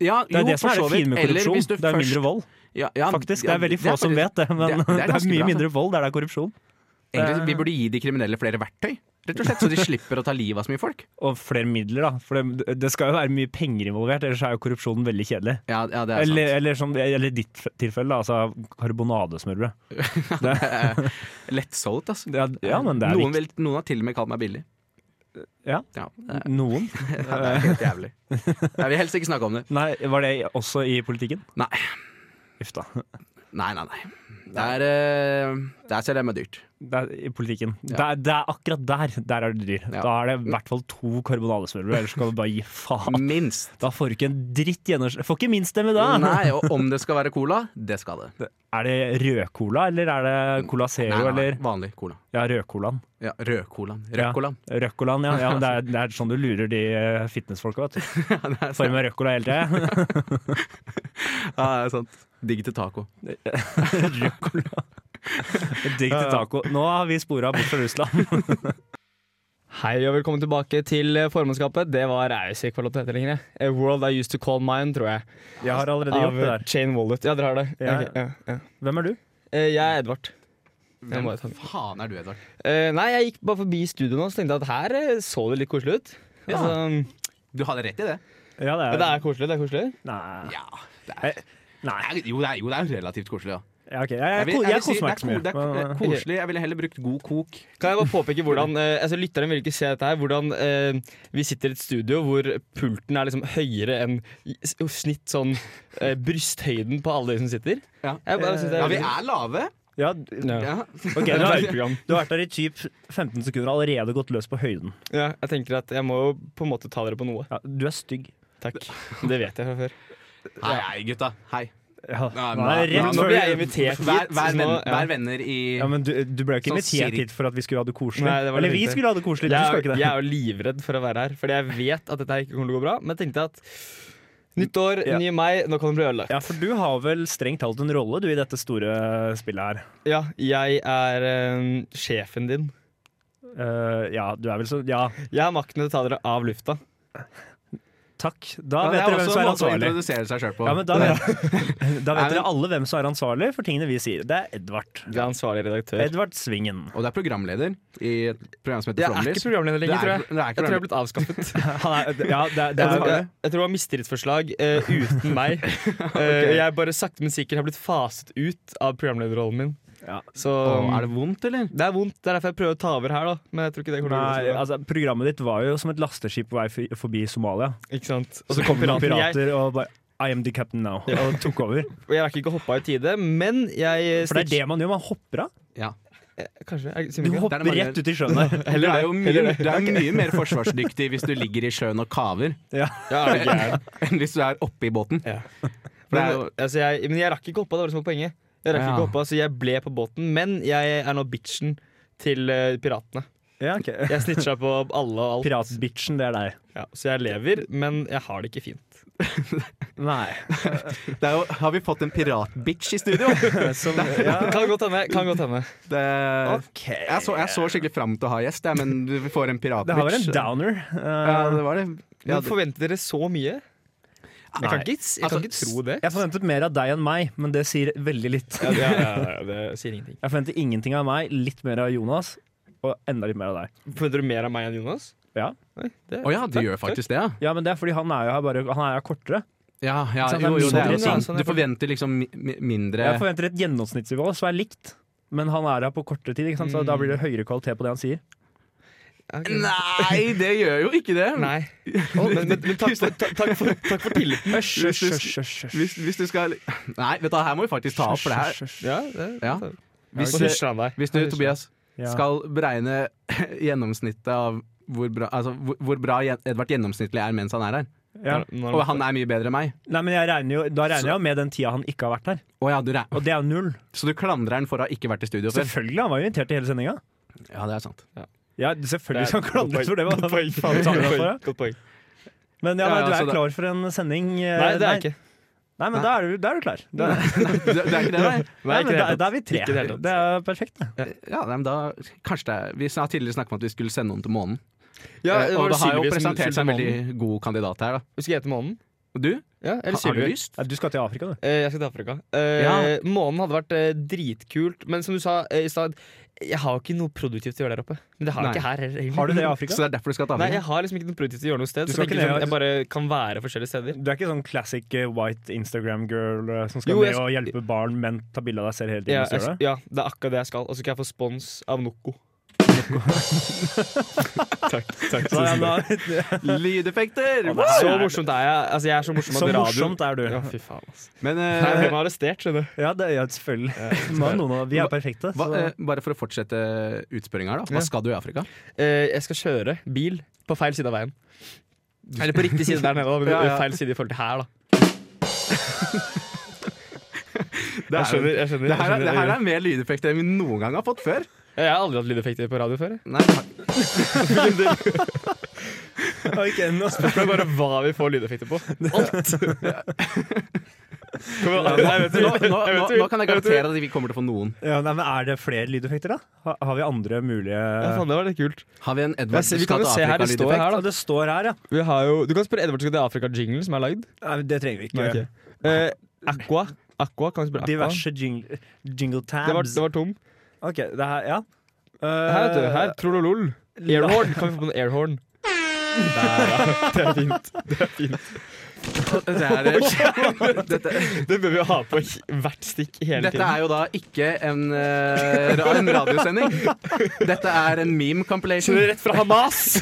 Ja,
Det er
jo,
det som
for
er
så
det fine med
vidt. Eller
korrupsjon.
hvis du
Det er
først-
mindre vold,
Ja, ja,
faktisk. Det
ja,
er veldig få som
faktisk-
vet det, men
det er- det er
[laughs] det er,
ganske
mye
bra,
mindre vold der det er korrupsjon. eh.
Egentlig, vi burde gi de kriminelle flere verktøy, rett og slett,
[laughs]
så de slipper å ta livet av så mye folk.
Og flere midler, da. For det, det skal jo være mye penger involvert, ellers er jo korrupsjonen veldig kjedelig.
Ja, ja det er sant. [laughs]
Eller, eller, som, eller ditt f- tilfelle, da, altså karbonadesmørbrød.
Eh, Lett solgt, altså.
Ja, ja, men det er
noen, vil, noen har til og med kalt meg billig.
Ja.
[laughs] det er-
Noen.
ja, det er helt jævlig. Jeg vil helst ikke snakke om det.
Nei, var det også i politikken?
Nei.
Uff da.
Nei, nei, nei. Det er, eh, det er selv om det er dyrt.
Det er i politikken.
Ja.
Det, er, det er akkurat der der er det dyr.
Ja.
Da er det i hvert fall to karbonadesmørbrød, ellers kan du bare gi
Mm.
faen.
Minst.
Da får du ikke en dritt gjennomslag. Får ikke minststemme da!
Nei, og om det skal være cola, det skal det.
Er det rødcola, eller er det Cola Zero,
Nei, nei, nei,
eller
vanlig cola.
Ja, rødcolaen.
Ja, Rødcolaen. Rødcolaen.
Ja, rødcolaen, ja. ja men det, er, det er sånn du lurer de eh, fitnessfolka, vet du. Får i meg rødcola
[laughs]
hele tida.
Ja, det er sant. Digg til taco.
Rødcola. Digg til taco. Nå har vi spora bort fra Russland.
[laughs] Hei og velkommen tilbake til eh, formannskapet. Det var jeg ikke hva låten heter lenger. A World I Used To Call Mine, tror jeg.
Jeg har allerede
Av
gjort det der.
Chain Wallet. Ja, dere har det.
Ja,
Ok, ja, ja.
Hvem er du?
Eh, Jeg er Edvard. Jeg må
Hvem
bare ta den.
faen er du, Edvard?
Eh, Nei, jeg gikk bare forbi studio nå og tenkte jeg at her eh, så det litt koselig ut.
Ja.
Altså,
Du hadde rett i det.
Ja, det
men
er,
det er koselig, det er koselig.
Nei.
Ja. Det er,
Nei.
Nei, jo, det er, jo, det er jo relativt koselig, ja.
Ja, ok. Jeg, jeg,
vil-
jeg,
vil si
koser meg ikke så
det er ko- Det er
mye. eh,
ko- koselig. Jeg ville heller brukt god kok.
Kan jeg bare påpeke hvordan eh, altså Lytteren vil ikke se dette her. Hvordan eh, vi sitter i et studio hvor pulten er liksom høyere enn i- s- snitt sånn eh, brysthøyden på alle de som sitter.
Ja.
Jeg bare synes det
Ja,
er
vi er lave.
Ja,
Ja.
Ja.
ok,
Det
du
er
har,
et program.
du har vært der i typ 15 sekunder og allerede gått løs på høyden.
Ja, jeg tenker at jeg må jo på en måte ta dere på noe.
Ja, du er stygg.
Takk. Det vet jeg fra før.
Hei, hei, gutta. Hei.
Ja,
Nei,
nå
nei,
er det
nei,
rett
Nå
før-
blir jeg invitert hit.
Vær, vær,
så nå-
venn,
ja.
vær venner i
Ja, men du, du ble jo ikke
Sånn
invitert
cirka.
hit for at vi skulle ha det koselig.
Nei, det var det
Eller vi
tenkte.
skulle ha det koselig, du skal
Jeg,
ikke
er-
det.
jeg er jo livredd for å være her, fordi jeg vet at dette her ikke kommer til å gå bra. Men jeg tenkte at nytt år,
Ja.
nye meg, nå kan det bli ødelagt.
Ja, for du har vel strengt talt en rolle du i dette store spillet her.
Ja, jeg er eh, sjefen din.
Eh, ja, du er vel så Ja,
Jeg har makten til å ta dere av lufta.
takk. Da
Ja,
vet dere hvem som
Det er
er
også en måte å
ansvarlig.
introdusere seg selv på.
Ja, men da vet, da
Nei,
vet
men-
dere alle hvem som er ansvarlig for tingene vi sier. Det er Edvard.
Du er ansvarlig redaktør.
Edvard Svingen.
Og det er programleder i et program som heter
Jeg er
Flomlys.
ikke programleder lenger, tror jeg.
Det er
Jeg tror jeg er
programleder.
blitt avskaffet.
[laughs] Han er, ja, det er, det
Jeg,
er,
tror- jeg, jeg tror det var mistillitsforslag
[laughs]
eh, uten meg. Eh, jeg bare sakte, men sikkert har blitt faset ut av programlederrollen min.
Ja.
Så
Åh, er det vondt, eller?
Det er vondt. Det er derfor jeg prøver å ta over her, da. Men jeg tror ikke det kommer
Nei,
til å gå så bra.
altså, programmet ditt var jo som et lasteskip på vei f- forbi Somalia.
Ikke sant?
Og så kom det noen pirater og bare I am the captain now. Og tok over.
Jeg, jeg rakk ikke å hoppe av i tide, men jeg
For det er det man gjør. Man hopper av.
Ja.
Kanskje? Jeg, sier
Du
ikke.
hopper
det er det man
rett ut i sjøen der.
[laughs] Du er jo mye,
heller det.
du er [laughs] jo mye mer forsvarsdyktig hvis du ligger i sjøen og kaver,
Ja.
Ja, er du gæren?
enn hvis du er oppe i båten. [laughs]
Ja.
For det er jo,
Men, altså, jeg, men jeg rakk ikke å hoppe av, det var det som var poenget. Jeg rakk
Ja.
ikke å hoppe av, så jeg ble på båten, men jeg er nå bitchen til eh, piratene.
Ja, ok.
Jeg snitcha på alle og alt.
Piratbitchen, det er deg.
Ja, så jeg lever, men jeg har det ikke fint.
[laughs]
[laughs]
Nei.
det er jo, har vi fått en piratbitch i studio?
Som, ja.
Kan godt hende. Kan godt hende.
Det,
Ok.
jeg, så, jeg så skikkelig fram til å ha gjest, jeg, men vi får en piratbitch.
Det har vært en downer. Eh,
Ja, det var det. Altså, Ja,
Men forventer dere så mye? Jeg kan
Nei.
ikke, jeg kan ikke tro det.
Jeg forventet mer av deg enn meg, men det sier veldig litt.
Ja, ja, ja, ja, det sier ingenting.
Jeg forventer ingenting av meg, litt mer av Jonas, og enda litt mer av deg.
Forventer du mer av meg enn Jonas?
Ja,
Det,
Å ja, du gjør faktisk det, ja.
ja men det er fordi han er jo her bare, han er jo kortere.
Ja, ja
Sånn, det er
jo, jo, det er jo
mindre,
sant.
sånn er
Du
det.
forventer liksom mi- mi- mindre
Jeg forventer et gjennomsnittsnivå som er likt, men han er her på kortere tid, ikke sant? så da blir
Mm.
det høyere kvalitet på det han sier.
Ja, ok.
Nei, det gjør jo ikke det! [laughs]
Nei. Å, men, men, men takk, for, ta- takk, for, takk for tilliten.
Hysj, hysj,
Hvis-
hysj, hysj, hysj.
Hvis, hvis du skal Nei, vet du, hva, her må vi faktisk ta opp for det her.
Ja, det,
Ja.
Hvis,
Hvis- Hvis du, Tobias,
Ja.
skal beregne [laughs] gjennomsnittet av hvor bra, altså, hvor, hvor bra Jen- Edvard gjennomsnittlig er mens han er her.
Ja.
Og han er mye bedre enn meg.
Nei, men jeg regner jo, Da regner jeg jo med den tida han ikke har vært her,
Å ja, du, re-
og det er jo null.
så du klandrer han for å ha ikke vært i studio før?
Selvfølgelig, han var jo invitert til hele sendinga.
Ja, det er sant.
Ja, selvfølgelig skal han klandres for det. hva faen sa han for det?
Godt poeng.
Men ja, men
Ja, ja,
du
så
er
det-
klar for en sending? eh,
altså, Nei, det er jeg ikke.
Nei, men
Nei.
da er du, da er du klar. Da,
[laughs] Det, det er ikke det, nei?
nei,
Nei, ikke
men
i det
da,
hele
da er vi tre.
Ikke i det hele tatt.
Det er perfekt, det.
[laughs] Ja, nei, men da Kanskje det er Vi har tidligere snakket om at vi skulle sende noen til månen.
tatt. Ja,
Eh,
det
og
var
det har jo
Sylvi som
presentert seg en
skulle til månen.
veldig god kandidat her, da.
Skal jeg til månen?
Og du?
Ja, eller
Har, har du
Sylvi?
lyst?
Nei, Du skal til Afrika, du.
Eh, Jeg skal til Afrika. Eh,
Ja.
Månen hadde vært eh, dritkult, men som du sa eh, i stad Jeg har jo ikke noe produktivt å gjøre der oppe. Men det har jeg
Nei.
ikke her. heller.
Har du det i
[laughs] Så
Afrika?
det er derfor du skal ta
Nei,
med?
jeg har liksom ikke noe produktivt å gjøre noe sted.
Du
Så
skal
det er
ikke
ikke sånn,
ned-
jeg bare kan være forskjellige steder.
Du er ikke sånn classic eh, white Instagram-girl eh, som skal
Jo, jeg
ned og hjelpe barn, men ta bilde av deg selv hele tiden?
Ja,
hvis du gjør
jeg,
det.
ja, det er akkurat det jeg skal. Og så skal jeg få spons av Noco. takk. takk
Så, ja,
tusen takk.
da,
Lydeffekter!
[laughs] Så morsomt er jeg. Altså, jeg er så morsom
så
at radioen
morsomt er du.
Ja, fy faen, altså.
Men eh,
Her ble man arrestert, skjønner du.
Ja, det, ja selvfølgelig. [laughs] Man, noen av, vi er perfekte.
hva,
Så.
eh, bare for å fortsette utspørringa her, da.
Ja.
Hva skal du i Afrika?
Eh, jeg skal kjøre bil på feil side av veien. Eller på riktig side der nede, [laughs] da, men
Ja, ja.
feil side i forhold til [laughs] her, da.
Det,
Jeg skjønner. jeg skjønner,
Det
jeg
her, er,
skjønner.
det her er mer lydeffekter enn vi noen gang har fått før.
Jeg har aldri hatt lydeffekter på radio før. [laughs] jeg.
Nei, det har-
[laughs] Ok, nå-
Det er bare hva vi får lydeffekter på. [laughs] Alt! Kom igjen, jeg
nå,
vet du vil.
nå, nå,
vet du vil.
nå kan jeg
vet du vil.
garantere at vi kommer til å få noen.
Ja, nei, men Er det flere lydeffekter, da? Har, har vi andre mulige
Ja, faen, det var litt kult.
Har vi en Edvard
Jeg ser- vi kan jo se her, det står her,
Ja, Det står her, ja.
Vi har jo, du kan spørre Edvard skal til Afrika-jinglen som er lagd.
Nei, men det trenger vi ikke.
Nei, ok. Eh, Aqua. Aqua, kan vi spørre Aqua?
Diverse jingle, jingle
Det var,
tabs.
det var tom.
Ok, det her, ja. Eh, Uh,
Her, vet du. Her, trololol. Airhorn. Kan vi få på en airhorn? Der, ja. Det er fint. Det er fint. [laughs]
dette,
Det bør vi ha på i hvert stikk hele
[laughs] dette
tiden.
er jo da ikke en, eh, ra- en radiosending.
[laughs]
Dette er en meme compilation.
Rett fra Hamas!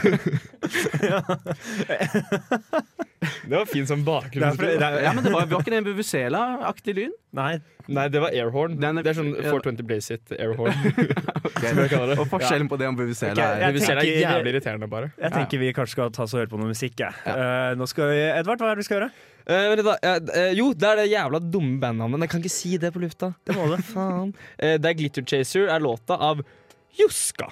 Det var fint
[laughs]
som
det er fra,
bakgrunn.
det er,
Ja, men det var, var ikke det en Bubusela-aktig lyd?
Nei,
Nei, det var airhorn.
Den er-
Det er sånn
ja.
420 Blaze It [laughs] airhorn. Som jeg kaller det.
Og forskjellen på det om Bubusela
Ok,
er
jeg-
Det vi ser er
tenker-
jævlig irriterende, bare.
jeg tenker vi kanskje skal ta oss og høre på noe musikk. Jeg. Eh, nå skal vi, Edvard, hva er det vi skal gjøre?
Eh, vent litt da, eh, eh, jo, det er det jævla dumme bandnavnet. Jeg kan ikke si det på lufta. Det må det. [laughs] Faen. Eh, det er Glitter Chaser, er låta av Joska.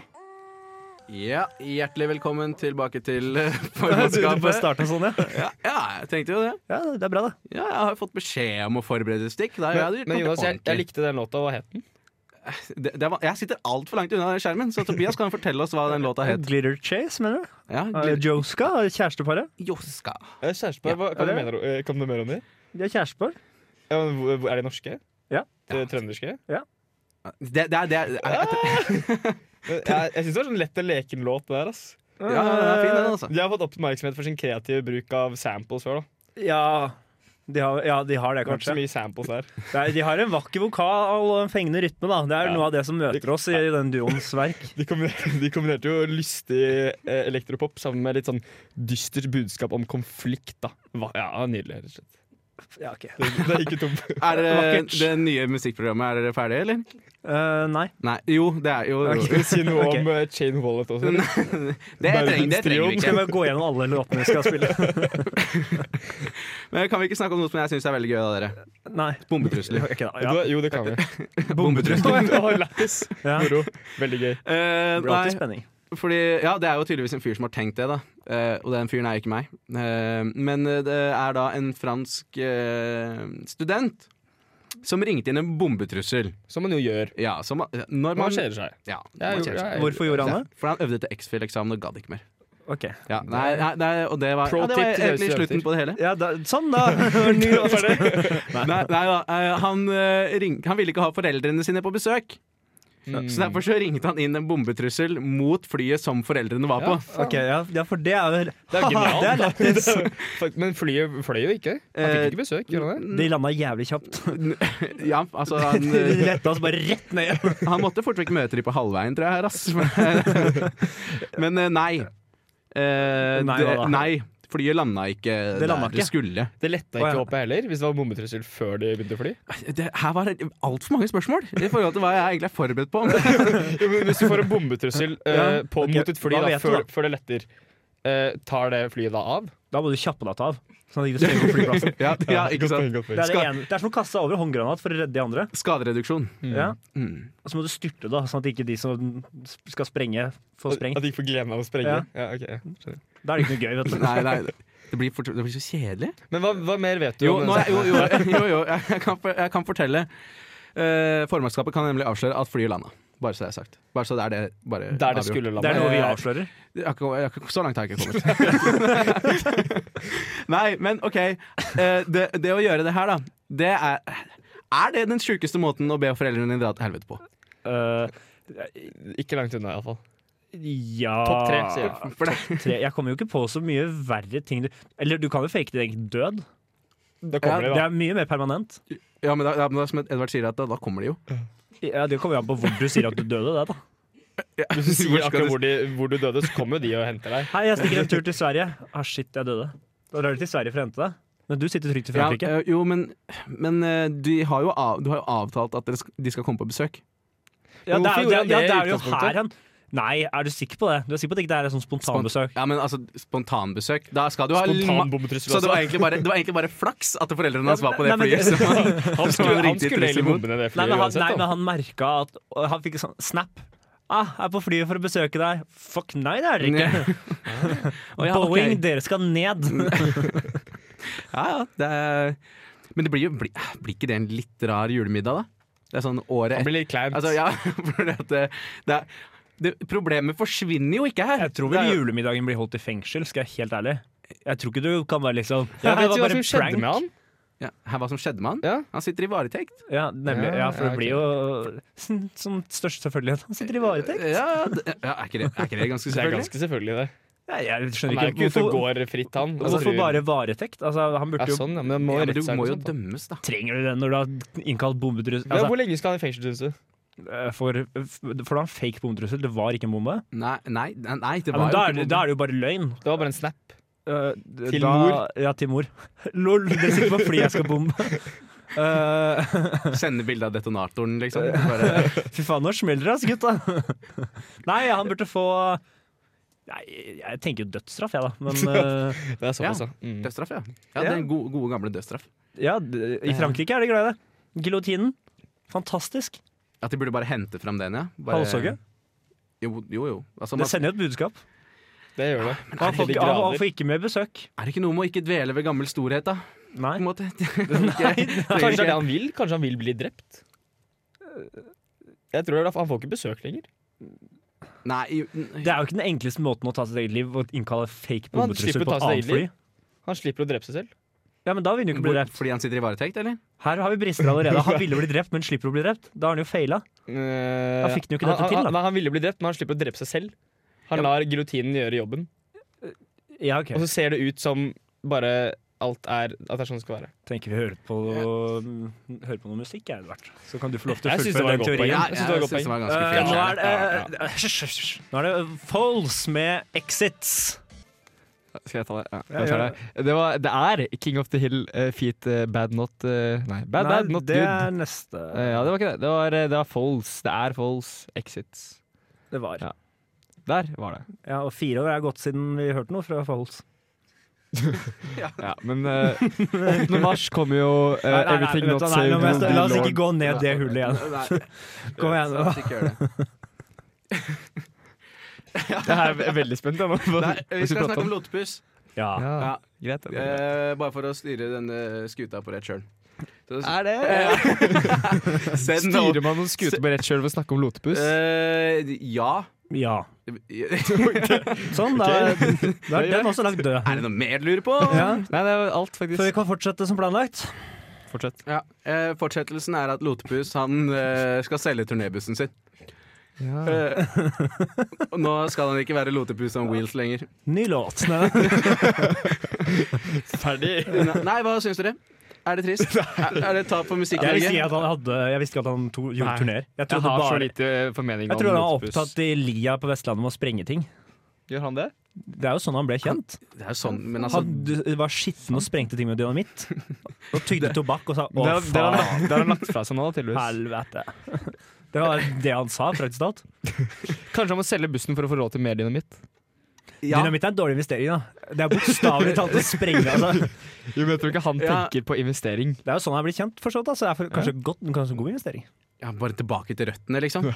Ja, hjertelig velkommen tilbake til
[laughs]
eh,
Du, du bare
formannskapet.
starta sånn, ja.
Ja, ja, jeg tenkte jo det.
ja? Det er bra, det.
Ja, jeg har fått beskjed om å forberede stikk. Da,
Men,
jeg,
men Jonas, jeg, jeg
likte
likte den låta. Hva het den?
det, det var, Jeg sitter altfor langt unna den skjermen, så Tobias kan fortelle oss hva den låta
[laughs]
het.
Glitter Chase, mener du?
Ja,
Eh, Joska, kjæresteparet.
Joska.
Eh, Kjærestepar. hva- Kan
Ja,
du
det
mene ro- eh, kan du mer om dem?
De er kjærestepar.
Ja, men hvor- hvor- Er de norske?
Ja.
Eh, Trønderske?
Det, det, er- det, er-
Eh, Jeg, jeg syns det var sånn lett og leken låt. det der, ass.
ja, den er fin, den, altså.
De har fått oppmerksomhet for sin kreative bruk av samples før. da
Ja, de har, ja, de har det,
Det har vært så
kanskje.
mye samples der.
Det er, de har en vakker vokal og en fengende rytme. da Det er
Ja.
noe av det som møter oss i den duoens verk.
De kombinerte, de kombinerte jo lystig eh, elektropop sammen med litt sånn dystert budskap om konflikt. da Hva, Ja, Nydelig. rett og slett.
Ja, ok
Det, det gikk jo tomt.
Er det,
Vakkert.
det nye musikkprogrammet er dere ferdig, eller?
Eh, nei.
Nei, jo, det er jo
Skal vi si noe
Ok.
om eh, Chain Wallet også? eller?
Det, treng, det trenger vi
Skal
ikke.
vi gå gjennom alle låtene vi skal spille?
Men kan vi ikke snakke om noe som jeg syns er veldig gøy av dere?
Nei.
Bombetrusler.
Ok, da.
Du,
Ja.
jo, det
[laughs]
kan vi.
Bombetrusler.
[laughs] Å, Lættis.
Ja.
Moro. Veldig gøy.
Eh,
Bra
nei,
til spenning.
fordi, ja, det er jo tydeligvis en fyr som har tenkt det, da. Eh, og den fyren er ikke meg. Eh, men eh, det er da en fransk eh, student som ringte inn en bombetrussel.
Som man jo gjør.
Ja, som, når
Man
man,
kjeder seg.
Ja,
Jeg
man
gjorde-
kjeder seg.
jeg-
Hvorfor gjorde
Ja,
han det?
for han øvde til X-Fill-eksamen og gadd ikke mer.
Ok.
Ja, nei, nei, nei, og det var,
Pro
ja, det var
tip til
egentlig
dere studenter.
slutten på det hele.
Ja, da, sånn, da! Ny låt.
Nei, nei da, eh, han, eh, ring, han ville ikke ha foreldrene sine på besøk.
Mm.
Så derfor så ringte han inn en bombetrussel mot flyet som foreldrene var på. [laughs]
Ok, ja, ja, for det er jo
Det er
[laughs]
genialt.
Det er lættis.
Fuck, Men flyet fløy jo ikke. Han
Eh,
fikk ikke besøk. Gjorde han det?
De landa jævlig
[laughs]
kjapt.
Ja, altså han,
De [laughs]
eh,
letta oss bare rett ned.
han måtte fort vekk møte de på halvveien, tror jeg. her, ass. Men, [laughs] men eh, nei. Eh,
Nei,
det,
hva da?
nei. Flyet landa ikke
Det landa
der det
ikke.
skulle.
Det letta
Å,
ikke
ja.
opp heller, hvis det var bombetrussel før de begynte å fly.
Det, her var det altfor mange spørsmål i forhold til hva jeg egentlig er forberedt [laughs] på.
Jo, men Hvis du får en bombetrussel eh,
[laughs] Ja,
på,
ok,
mot et fly
da
da,
vet du
før,
da.
før det letter, eh, tar det flyet da av?
Da må du kjappe deg av. Sånn at du ikke sprenger
[laughs]
på flyplassen.
ja, ja, ikke sant?
Det er, det,
Skal-
ene, det er som å kaste seg over håndgranat for å redde de andre.
Skadereduksjon.
Ja.
Mm.
Og så må du styrte, da, sånn at ikke de som skal sprenge, får
At
sprengt.
de ikke får gleden av å sprenge?
Ja.
Ja, ok, ja, skjønner. [laughs]
Da er det ikke noe gøy, vet du.
Nei, nei. Det blir, fort- det blir så kjedelig.
Men hva, hva mer vet du
Jo,
om
nå,
denne
jo, jo, [laughs] jo, jo jeg, kan, for- jeg kan fortelle. Eh, formannskapet kan nemlig avsløre at flyet landa. Bare så det er sagt. Bare så det er det bare
Der det
avgjort.
skulle
Det
lande.
er noe vi avslører.
Jeg har ikke, jeg har ikke, så langt har jeg ikke kommet. [laughs] Nei, men OK. Eh, det, det å gjøre det her, da, det er Er det den sjukeste måten å be foreldrene dine dra til helvete på?
Eh,
Ikke langt unna, iallfall.
ja
Topp tre, sier jeg.
Ah, For det, [laughs]
Tre. Jeg kommer jo ikke på så mye verre ting du Eller du kan jo fake din egen død.
Da
Ja,
kommer
Det
det, da.
er mye mer permanent.
ja, men da, da, men da, som Edvard sier, at da, da kommer de jo.
Ja, Det kommer jo an på hvor du sier at du døde. Det, da.
[laughs]
Hvis
[laughs]
du sier akkurat hvor, de, hvor du døde, så kommer jo de og henter deg.
Hei, jeg stikker en tur til Sverige. Ah, shit, jeg døde. Da drar du til Sverige for å hente deg. Men du sitter trygt i
Ja,
Frankrike.
eh, jo, men, men eh, de har jo av, du har jo avtalt at dere sk- de skal komme på besøk.
Ja,
hvorfor
det er,
gjorde
ja,
han
det
det i
er jo
utgangspunktet?
her han Nei, er du sikker på det? Du er sikker på at det ikke er et sånt spontanbesøk?
Ja, men altså, spontanbesøk Da skal du ha
Spontan
ma-
bombetrussel
Så det var,
også.
egentlig bare, det var egentlig bare flaks at foreldrene hans var på det
Nei, men det-
flyet. Som han,
Han
som
skulle, han
ringte i trussel
skulle egentlig
mot.
bombe ned det
Nei,
flyet
men han, nei,
uansett.
men
da.
han merka at og Han fikk en sånn snap. Ah, 'Jeg er på flyet for å besøke deg.' Fuck, nei, det er dere ikke.
Å, ja, ok.
Boeing, dere skal [laughs] ned.
Ja, ja, det er, men det blir jo blir, blir ikke det en litt rar julemiddag, da? Det er sånn året
Han
etter
blir litt kleint.
altså, ja, [laughs] for det, at det, det, er- det, Problemet forsvinner jo ikke her.
Jeg tror
Det
vel
er-
julemiddagen blir holdt i fengsel, skal jeg være helt ærlig. Jeg tror ikke du kan være liksom
Jeg
Ja, det var
vet jo hva
bare
som skjedde
prank.
med han.
ja, her, Hva som skjedde med han?
Ja.
Han sitter i varetekt.
Ja, nemlig.
Ja,
Ja, for
ja,
det blir jo sånn- som størst selvfølgelighet. Han sitter i varetekt.
Ja, det, ja, er, ikke det, er ikke det ganske
Det er
selvfølgelig?
ganske selvfølgelig, det.
Nei, Jeg
Han
skjønner
er jo ikke
ikke
ute og
hvorfor,
går fritt, han. Altså,
hvorfor bare varetekt? Altså, han burde
ja,
jo
sånn, ja, men, det må
Ja, men du
rettssak
må
og
jo
sånt, da.
sånn.
dømmes, da.
Trenger du det når du har innkalt bombetrussel?
ja,
Altså,
Hvor lenge skal han i fengsel, syns du?
eh, for, for da en fake bombetrussel, det var ikke en bombe.
Nei, nei, nei, nei det
Ja,
var
men da, er,
jo
det-
ikke
da er det jo bare løgn.
Det var bare en snap.
Eh,
Til
da,
mor.
Ja, til mor. [laughs] Lol, dere sitter på fly jeg skal [laughs] bombe. Eh, [laughs]
Sende bilde av detonatoren, liksom. Bare,
Fy faen, nå smeller det, ass, gutta. [laughs] Nei, han burde få Nei, jeg tenker jo dødsstraff, jeg, da. [laughs] Men eh,
Det er såpass,
Ja.
ja. Mm.
dødsstraff, ja. ja den gode, gode gamle dødsstraff.
ja, d- i Frankrike er de glad i det. Giljotinen. Fantastisk.
At de burde bare hente fram den, ja. Bare-
Halshogge.
Jo, jo. jo. Altså,
Det
man,
sender jo et budskap.
Det gjør det.
Og Han får,
Til de
ikke- han han
grader.
får ikke mer besøk.
er det ikke noe med å ikke dvele ved gammel storhet, da? På en
[laughs] Nei.
måte.
[laughs]
Nei,
Kanskje det er det han vil? Kanskje han vil bli drept? Jeg tror det er derfor Han får ikke besøk lenger.
[laughs] Nei, jo,
Det er jo ikke den enkleste måten å ta sitt eget liv å innkalle fake
Men han
bombetrussel
slipper å
på et
ta sitt
annet
eget liv.
fly.
Han slipper å drepe seg selv.
Ja, men da vil han jo ikke bli
hvor,
drept.
fordi han sitter i varetekt, eller?
Her har vi brister allerede. Han ville bli drept, men slipper å bli drept. Da har han jo feila.
Da
Da fikk han jo ikke dette til, da.
Eh, Han, han ville bli drept, men han slipper å drepe seg selv. Han lar giljotinen gjøre jobben.
Ja, OK.
Og så ser det ut som bare alt er At det er sånn det skal være.
Tenker vi hører på, hører på noe musikk, jeg, Edvard. Så kan du få lov til å
Jeg synes det var
fullføre den
godt poeng.
teorien.
jeg synes det var godt
synes det var ganske
Eh,
fint.
nå, er det,
Ja,
eh, hysj, hysj, hysj. nå er det Foles med Exits.
Skal jeg ta det? Ja,
Ja,
jeg tar
gjør
det. Det, var, det er King of the Hill, eh, feat eh, Bad Not eh, Nei, Bad Bad Not
det
Good.
er neste.
Eh, ja, det var ikke det. Det var, eh, det var Foals. Det er Foals. Exits.
Det var.
Ja. Der var det.
Ja, og fire år er gått siden vi hørte noe fra Foles.
Ja, men eh, 8. mars kommer jo eh, Everything
vet
Not
du, nei,
Saved
nå må jeg
Will
stå-
Be
la oss ikke
Lord.
gå ned det hullet igjen.
Nei,
Kom igjen.
la oss ikke gjøre det.
Jeg er veldig spent. Jeg, nå.
Nei, vi skal
prate
snakke om lotepus.
Ja.
Ja,
Ja.
greit. det er bra.
Eh, bare for å styre denne skuta på rett kjøl. Så-
Er det
Send den opp.
Styrer man noen skuter på rett kjøl ved å snakke om lotepus?
Eh, ja. [laughs]
ja.
Er
Sånn, da, da er den også lagt død.
det noe mer du lurer på?
Ja.
Nei, det er alt,
Så vi
faktisk.
kan fortsette som planlagt.
Fortsett.
Ja, eh, Fortsettelsen er at Lotepus han eh, skal selge turnébussen sin. Eh, og nå skal han ikke være Lotepus on wheels lenger.
Ny [laughs] låt.
Ferdig.
eh, Nei, hva syns dere? Er det
[laughs]
trist? Er, er det tap for
Jeg visste
Musikk-Norge?
ikke at han, hadde, jeg visste ikke at han to, gjorde
Nei.
turneer. Jeg
Jeg
trodde
har så
bare
lite eh, formening
jeg
om
tror han var
lotepus.
opptatt i lia på Vestlandet med å sprenge ting.
Gjør han det?
Det er jo sånn han ble kjent.
Det er jo sånn, men altså
Han d- var skitten og sprengte ting med [laughs] dynamitt. Og tygde tobakk og sa 'å,
Det har- det har han
faen,
lagt- det har han lagt fra seg nå, tydeligvis.
helvete'. [laughs] Det var det han sa, praktisk talt.
Kanskje han må selge bussen for å få råd til mer dynamitt?
ja,
Dynamitt er en dårlig investering, da. Det er bokstavelig talt å sprenge. Altså.
Jo, men jeg tror ikke han
Ja.
tenker på investering.
altså. Det er jo sånn han blir kjent, for så vidt. da, Så det er for, kanskje, godt, kanskje en god investering.
Ja, bare tilbake til røttene,
[laughs]
liksom.
[laughs]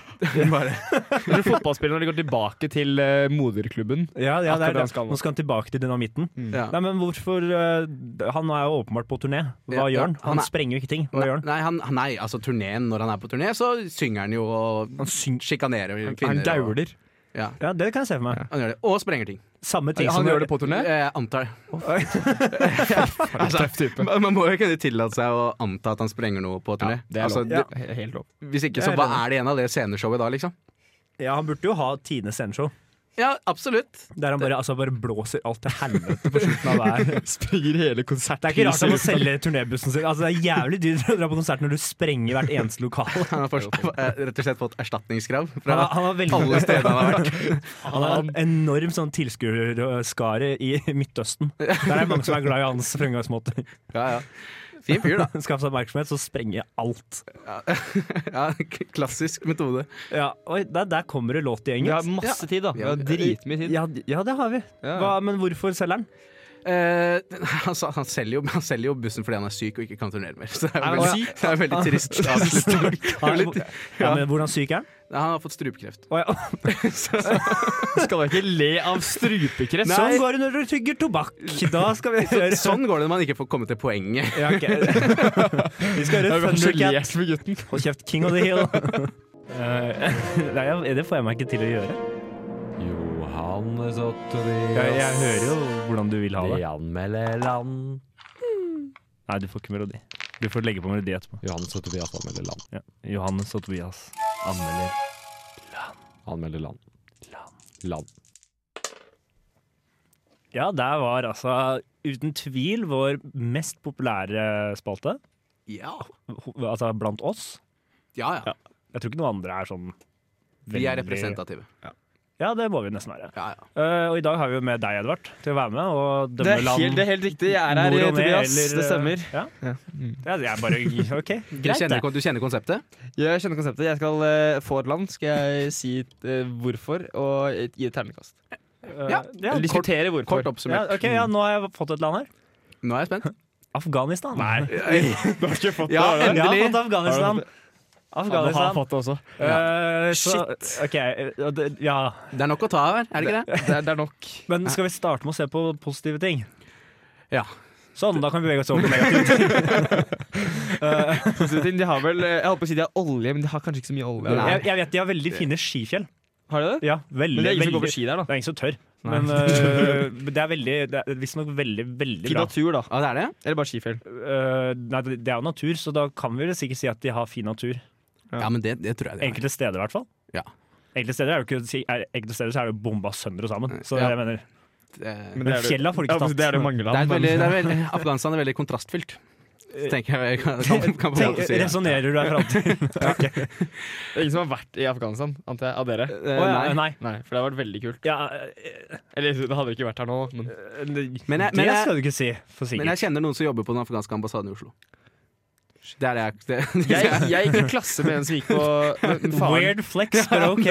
Bare. Når fotballspillere når de går tilbake til eh, moderklubben.
Ja,
Akkurat
ja det er
det han
det.
skal nå.
Nå skal han tilbake til dynamitten.
Ja.
Nei, men hvorfor eh, Han er jo åpenbart på turné. Hva
Ja, ja.
gjør han?
Han
Han
er-
sprenger jo ikke ting. Hva
Nei,
gjør han?
nei, han, nei, altså turneen Når han er på turné, så synger han jo og
Han synger
sjikanerer
Han
kvinner. og,
dauler.
ja,
Ja, det kan jeg se for meg.
han gjør det. Og sprenger ting.
Samme ting
Han
som
gjør det på turné?
Jeg
[laughs]
antar det. altså, man man må jo kunne tillate seg å anta at han sprenger noe på turné.
Det er
altså,
lov.
det,
He- Helt lov.
hvis ikke, så
Jeg er
hva
enig.
er det igjen av det sceneshowet da, liksom?
[laughs] Ja, han burde jo ha Tines sceneshow,
Ja, absolutt.
der han bare, altså, bare blåser alt til helvete på slutten av
[laughs]
hver
Springer hele konserthuset.
Det er ikke rart han må selge turnébussen sin. Altså, det er jævlig dyrt å dra på konsert når du sprenger hvert eneste
[laughs]
lokal.
Han har forst- eh, rett og slett fått erstatningskrav
Han
fra
har, han har veldig
alle steder han har vært.
Han har en enorm sånn tilskuerskare i Midtøsten. Der er det mange som er glad i hans fremgangsmåter.
Ja, ja. Fin fyr, da.
[laughs] Skaff seg oppmerksomhet, så sprenger jeg alt.
Ja, [laughs] k- klassisk metode.
Ja, oi, der, der kommer det låt i
Vi har
engelsk.
masse tid, da. Vi
Ja.
har dritmye tid.
Ja, ja, det har vi.
Ja.
Hva, men hvorfor selger han?
Eh, [laughs] han, sa- han, selger jo, han selger jo bussen fordi han er syk og ikke kan turnere mer. [laughs] Så det er
Er han
veldig, det er veldig trist avslutning. Det er veldig-
[laughs] Ja, men hvordan syk er han?
Nei, Han har fått strupekreft.
Å, ja.
Skal da ikke le av strupekreft?
[laughs] Sånn går det når du tygger tobakk. Da skal [laughs] vi høre
Sånn går det når man ikke får komme til poenget. [laughs]
Ja, [laughs] ok. Vi skal høre Thundercat. Hold kjeft, King of the Hill. [laughs] Eh, [laughs] Nei, jeg- det får jeg meg ikke til å gjøre.
Johannes og
Jeg,
Tobias.
jeg hører jo hvordan du vil ha
De
det.
anmelder land.
Nei, du får ikke melodi. Du får legge på melodi etterpå.
Johannes og Tobias anmelder land.
Ja. Johannes og Tobias.
Anmelder Anmelder land. Land.
Ja, der var altså uten tvil vår mest populære spalte.
Ja,
Ho- Altså blant oss.
ja. ja.
Jeg tror ikke noen andre er sånn
Vi er
veldig-
representative.
Ja, det må vi nesten være.
Ja, ja.
Eh, og i dag har vi jo med deg, Edvard, til å være med og
Det
dømme
er,
land.
helt, det er helt riktig. Jeg er her, eh,
nord og ned,
Tobias.
eller, eh,
Det stemmer. Mm.
Ja. Ja, jeg er bare OK, Eh,
Du
greit
kjenner,
det.
kon- du kjenner konseptet?
Jeg kjenner konseptet. Jeg skal eh, få et land, skal jeg si eh, hvorfor, og gi et terningkast.
Ja,
Eller
ja,
Diskutere hvorfor.
Kort oppsummert. Mm.
ok, ja, nå har jeg fått et land her.
Nå er jeg spent. [laughs]
Afghanistan. Nei,
Ja,
jeg har fått
endelig!
Afghanistan.
Du har
Afghanistan.
fått det også.
Eh, så- Ok, eh, det- ja.
Det er nok å ta av her, er det ikke det?
Det er, det er nok.
Men skal vi starte med å se på positive ting?
Ja.
Sånn, da kan vi bevege oss over på negativt.
[laughs] Positive ting. De har vel eh, Jeg holdt på å si de har olje, men de har kanskje ikke så mye olje.
Nei.
Jeg, jeg vet de har veldig fine skifjell.
Har de det?
Ja, veldig,
Men det er ingen
veldig.
som går på ski der,
Det
da.
er ingen som tør. Men eh,
[laughs]
det er veldig Det er visstnok veldig, veldig
Fin
bra.
natur, da.
Ja, det er det?
Eller bare skifjell.
Eh, nei, det det er jo natur, så da kan vi vel sikkert si at de har fin natur.
Ja, men det, det tror jeg det er.
Enkelte steder, i hvert fall.
Ja.
Enkelte steder er jo ikke si- er- Enkelte steder så er det jo bomba sønder og sammen. Så
Ja.
jeg mener
Det-
Men fjella får de ikke tatt.
Ja, men Det
[laughs]
er det mange
Det er
land.
veldig, det er veldig, Afghanistan er veldig kontrastfylt. Tenker jeg [laughs] kan, kan, kan på en måte
[laughs]
si. det.
Resonnerer Eh, du deg fram
[laughs]
til [laughs]
Det er [laughs] ingen som har vært i Afghanistan, antar jeg. Av dere.
Eh,
Å, ja,
nei.
Nei.
Nei, Eh, for det har vært veldig kult.
Ja,
Eller det hadde ikke vært her nå, men
Men jeg,
det
men
skal
eh,
jeg,
du ikke si, for
men
sikkert.
jeg kjenner noen som jobber på den afghanske ambassaden i Oslo. Det er det jeg det,
[laughs] [laughs] jeg, jeg gikk i klasse med en som gikk på men faren-
Weird flex, but OK.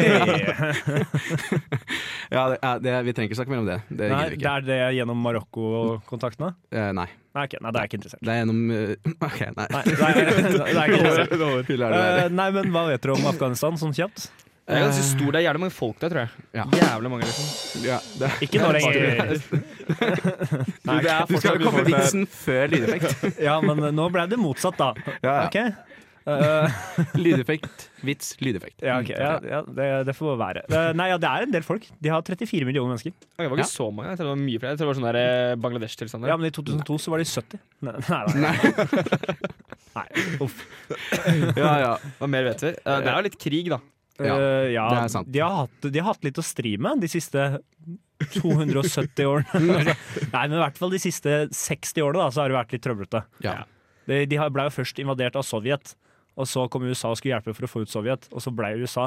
ja, det, ja, det, Vi trenger ikke snakke mer om det. Det
Nei,
gidder vi
det
ikke.
er det gjennom Marokko-kontaktene?
Eh, nei.
Nei, ok, nei, det er jeg ikke interessert.
Det er gjennom eh, [laughs] OK, nei.
Nei, det er, det er jeg ikke interessert.
Hyggelig er det å være.
Eh, nei, men hva vet dere om Afghanistan, sånn kjapt?
Det er ganske stor, det er jævlig mange folk der, tror jeg.
Ja.
Jævlig mange liksom
Ja, det.
Ikke nå [laughs] lenger. Nei, [laughs]
det er
Du skal jo komme med vitsen før lydeffekt.
Ja, men nå ble det motsatt, da.
[laughs] Ja,
Ok? Eh,
Lydeffekt, vits, lydeffekt.
ja, ok, ja, ja det, det får være. Eh, nei, ja, det er en del folk. De har 34 millioner mennesker.
Det var ikke så mange, jeg tror det var mye flere Jeg tror det var sånn der eh, Bangladesh-tilstander
Ja, men i 2002 så var de 70. Nei, nei, nei. nei. Uff.
[laughs] Ja, ja.
Hva mer vet vi? Eh, Det er jo litt krig da
Ja,
Eh, ja,
det er sant.
De, har hatt, de har hatt litt å stri med de siste 270
[laughs]
årene. Altså, Nei, men i hvert fall de siste 60 årene da, så har det vært litt trøblete.
Ja.
De, de har- ble jo først invadert av Sovjet, og så kom USA og skulle hjelpe for å få ut Sovjet, og så ble det USA.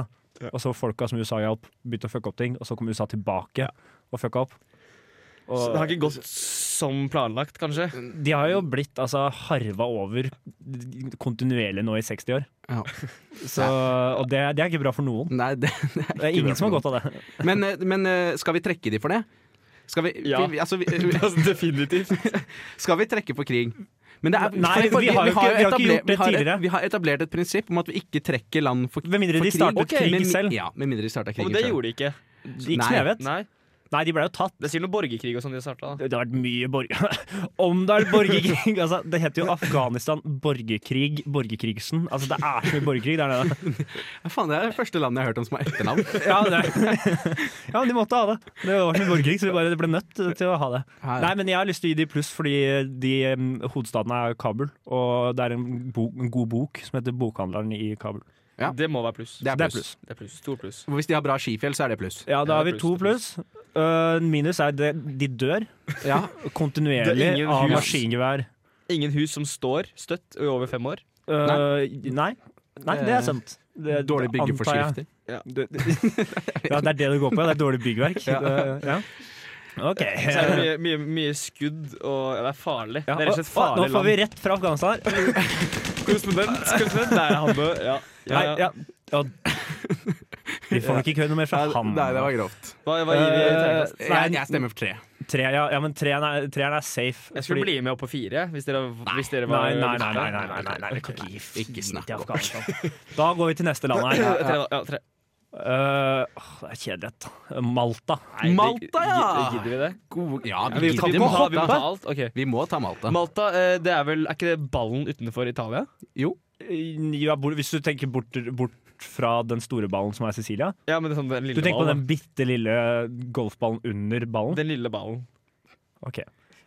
Og så folka som USA hjalp, begynte å fucke opp ting, og så kom USA tilbake og fucka opp.
Så
Og
det har ikke gått som planlagt, kanskje [laughs]
de har jo blitt altså, harva over kontinuerlig nå i 60 år.
Ja.
Så, og det, det er ikke bra for noen.
Nei, det, det er
Det er
ikke bra
ingen som
for
har
noen.
godt av det.
Men, eh, men eh, skal vi trekke de for det? Skal vi,
Ja.
vi, vi- altså, vi
Definitivt
Skal vi trekke på krig? Men det er,
Nei, vi har jo ikke- vi har ikke gjort det
vi har,
tidligere.
et, vi har etablert et prinsipp om at vi ikke trekker land for,
Med mindre
for
de startet
Ok,
krig
men-
selv.
Ja, med mindre de starta
Og
krigen
det
selv.
gjorde de ikke.
De gikk
Nei.
Snevet?
Nei.
Nei, de ble jo tatt.
Det sier noe borgerkrig og sånn de starta.
Det har vært mye [laughs] borger... Om det er
[laughs]
borgerkrig altså, Det heter jo Afghanistan, borgerkrig, borgerkrigsen. Altså, det er så mye borgerkrig der nede.
[laughs]
Ja, faen, det er det første landet jeg har hørt om som har
[laughs]
etternavn.
Ja, det [laughs] ja, men de måtte ha det. Det var så mye borgerkrig, så vi bare ble nødt til å ha det. Nei, men jeg har lyst til å gi de pluss, fordi de, mm, hovedstaden er Kabul. Og det er en, bo, en god bok som heter Bokhandleren i Kabul.
Ja.
Det må være pluss.
Det er
Det er
pluss.
Det er pluss. Stor pluss.
Hvis de har bra skifjell, så er det pluss.
Ja, da har
det
vi
er
to pluss.
pluss,
Øh, minus er det, de dør
Ja.
[laughs] Det er
kontinuerlig
ingen
av
hus.
maskingevær.
Ingen hus som står støtt i over fem år.
Øh, nei. nei, det er sant. Det,
Dårlige
det antar jeg.
byggeforskrifter.
Ja, det er det det går på. ja. Det er dårlig byggverk. Det- Ja. OK.
Så er det mye, mye, mye skudd, og ja, det er farlig.
Ja,
det er rett og slett
og- og
farlig
Nå får vi
land.
rett fra Afghanistan. her.
Korrespondent, korrespondent, der er han død. Ja. Ja,
Nei,
ja.
ja. ja. Vi får nok ikke høre noe mer fra
Ja,
han.
Nei, det var grovt.
Hva, hva gir vi i terningkast?
Eh,
Jeg, jeg stemmer for tre.
Tre, ja, ja, men treeren er, treeren er safe.
Jeg skulle
fordi-
bli med opp på fire, hvis dere, hvis dere var
Nei, nei, nei, nei, nei, nei, nei, nei, vi kan ikke gi fire
Ikke snakk
til
om
Afghanistan. Da går vi til neste land her.
[clears throat] Tre, da. ja, tre.
Eh, åh, det er kjedelig. da. Malta.
Nei, det-
Malta, ja!
gi- Gidder vi det?
God, ja,
Ja,
vi,
vi,
gidder
vi, må ha, vi må
Malta.
ta alt. ok.
Vi må ta Malta.
Malta, eh, det er vel Er ikke det ballen utenfor Italia?
Jo.
Ja, bort- hvis du tenker bort, bort fra den store ballen som er Sicilia.
Ja, men det er sånn den lille
Du tenker på den
ballen.
bitte lille golfballen under
da.
ballen?
Den lille ballen.
Ok.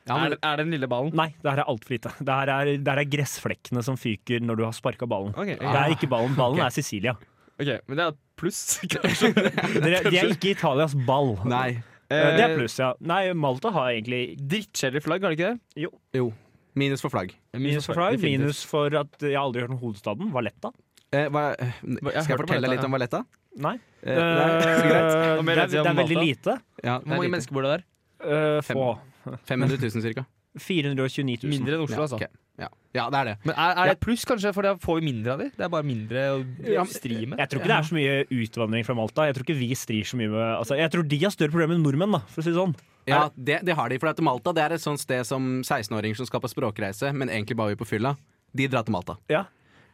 Ja,
er,
men,
det- er det den lille ballen?
Nei, det her er altfor lite. Det her er, det her er gressflekkene som fyker når du har sparka ballen.
Ok,
Det
ok.
er ikke ballen. Ballen er Sicilia.
ok, Men det er pluss, [laughs] kanskje?
Dere, de er ikke Italias ball.
nei.
Eh, Det er pluss, ja. Nei, Malta har egentlig
eh, Drittkjedelig flagg, har det ikke det?
Jo. Minus for flagg.
minus for flagg. Minus for at jeg aldri har hørt om hovedstaden. Valletta.
Eh, hva, skal jeg
hørte om
fortelle
Valletta,
litt om Valletta?
Nei.
Eh, nei, så greit.
Eh,
Nå må
det,
jeg
er,
rette
det
om
er veldig
Malta.
lite.
Ja, det er
Hvor mange
lite.
mennesker bor det der?
Eh, få.
500 000 cirka.
429 000.
Mindre enn Oslo,
Ja,
altså.
ok. ja. ja, det er det.
Men er, er det pluss, kanskje? For da får vi mindre av de. Det er bare mindre å stri med.
Jeg tror ikke det er så mye utvandring fra Malta. Jeg tror ikke vi strir så mye med altså, Jeg tror de har større problemer enn nordmenn, da, for å si det sånn.
Ja, det, det har de. For at Malta det er et sånt sted som 16-åringer som skal på språkreise, men egentlig bare vil på fylla. De drar til Malta.
Ja,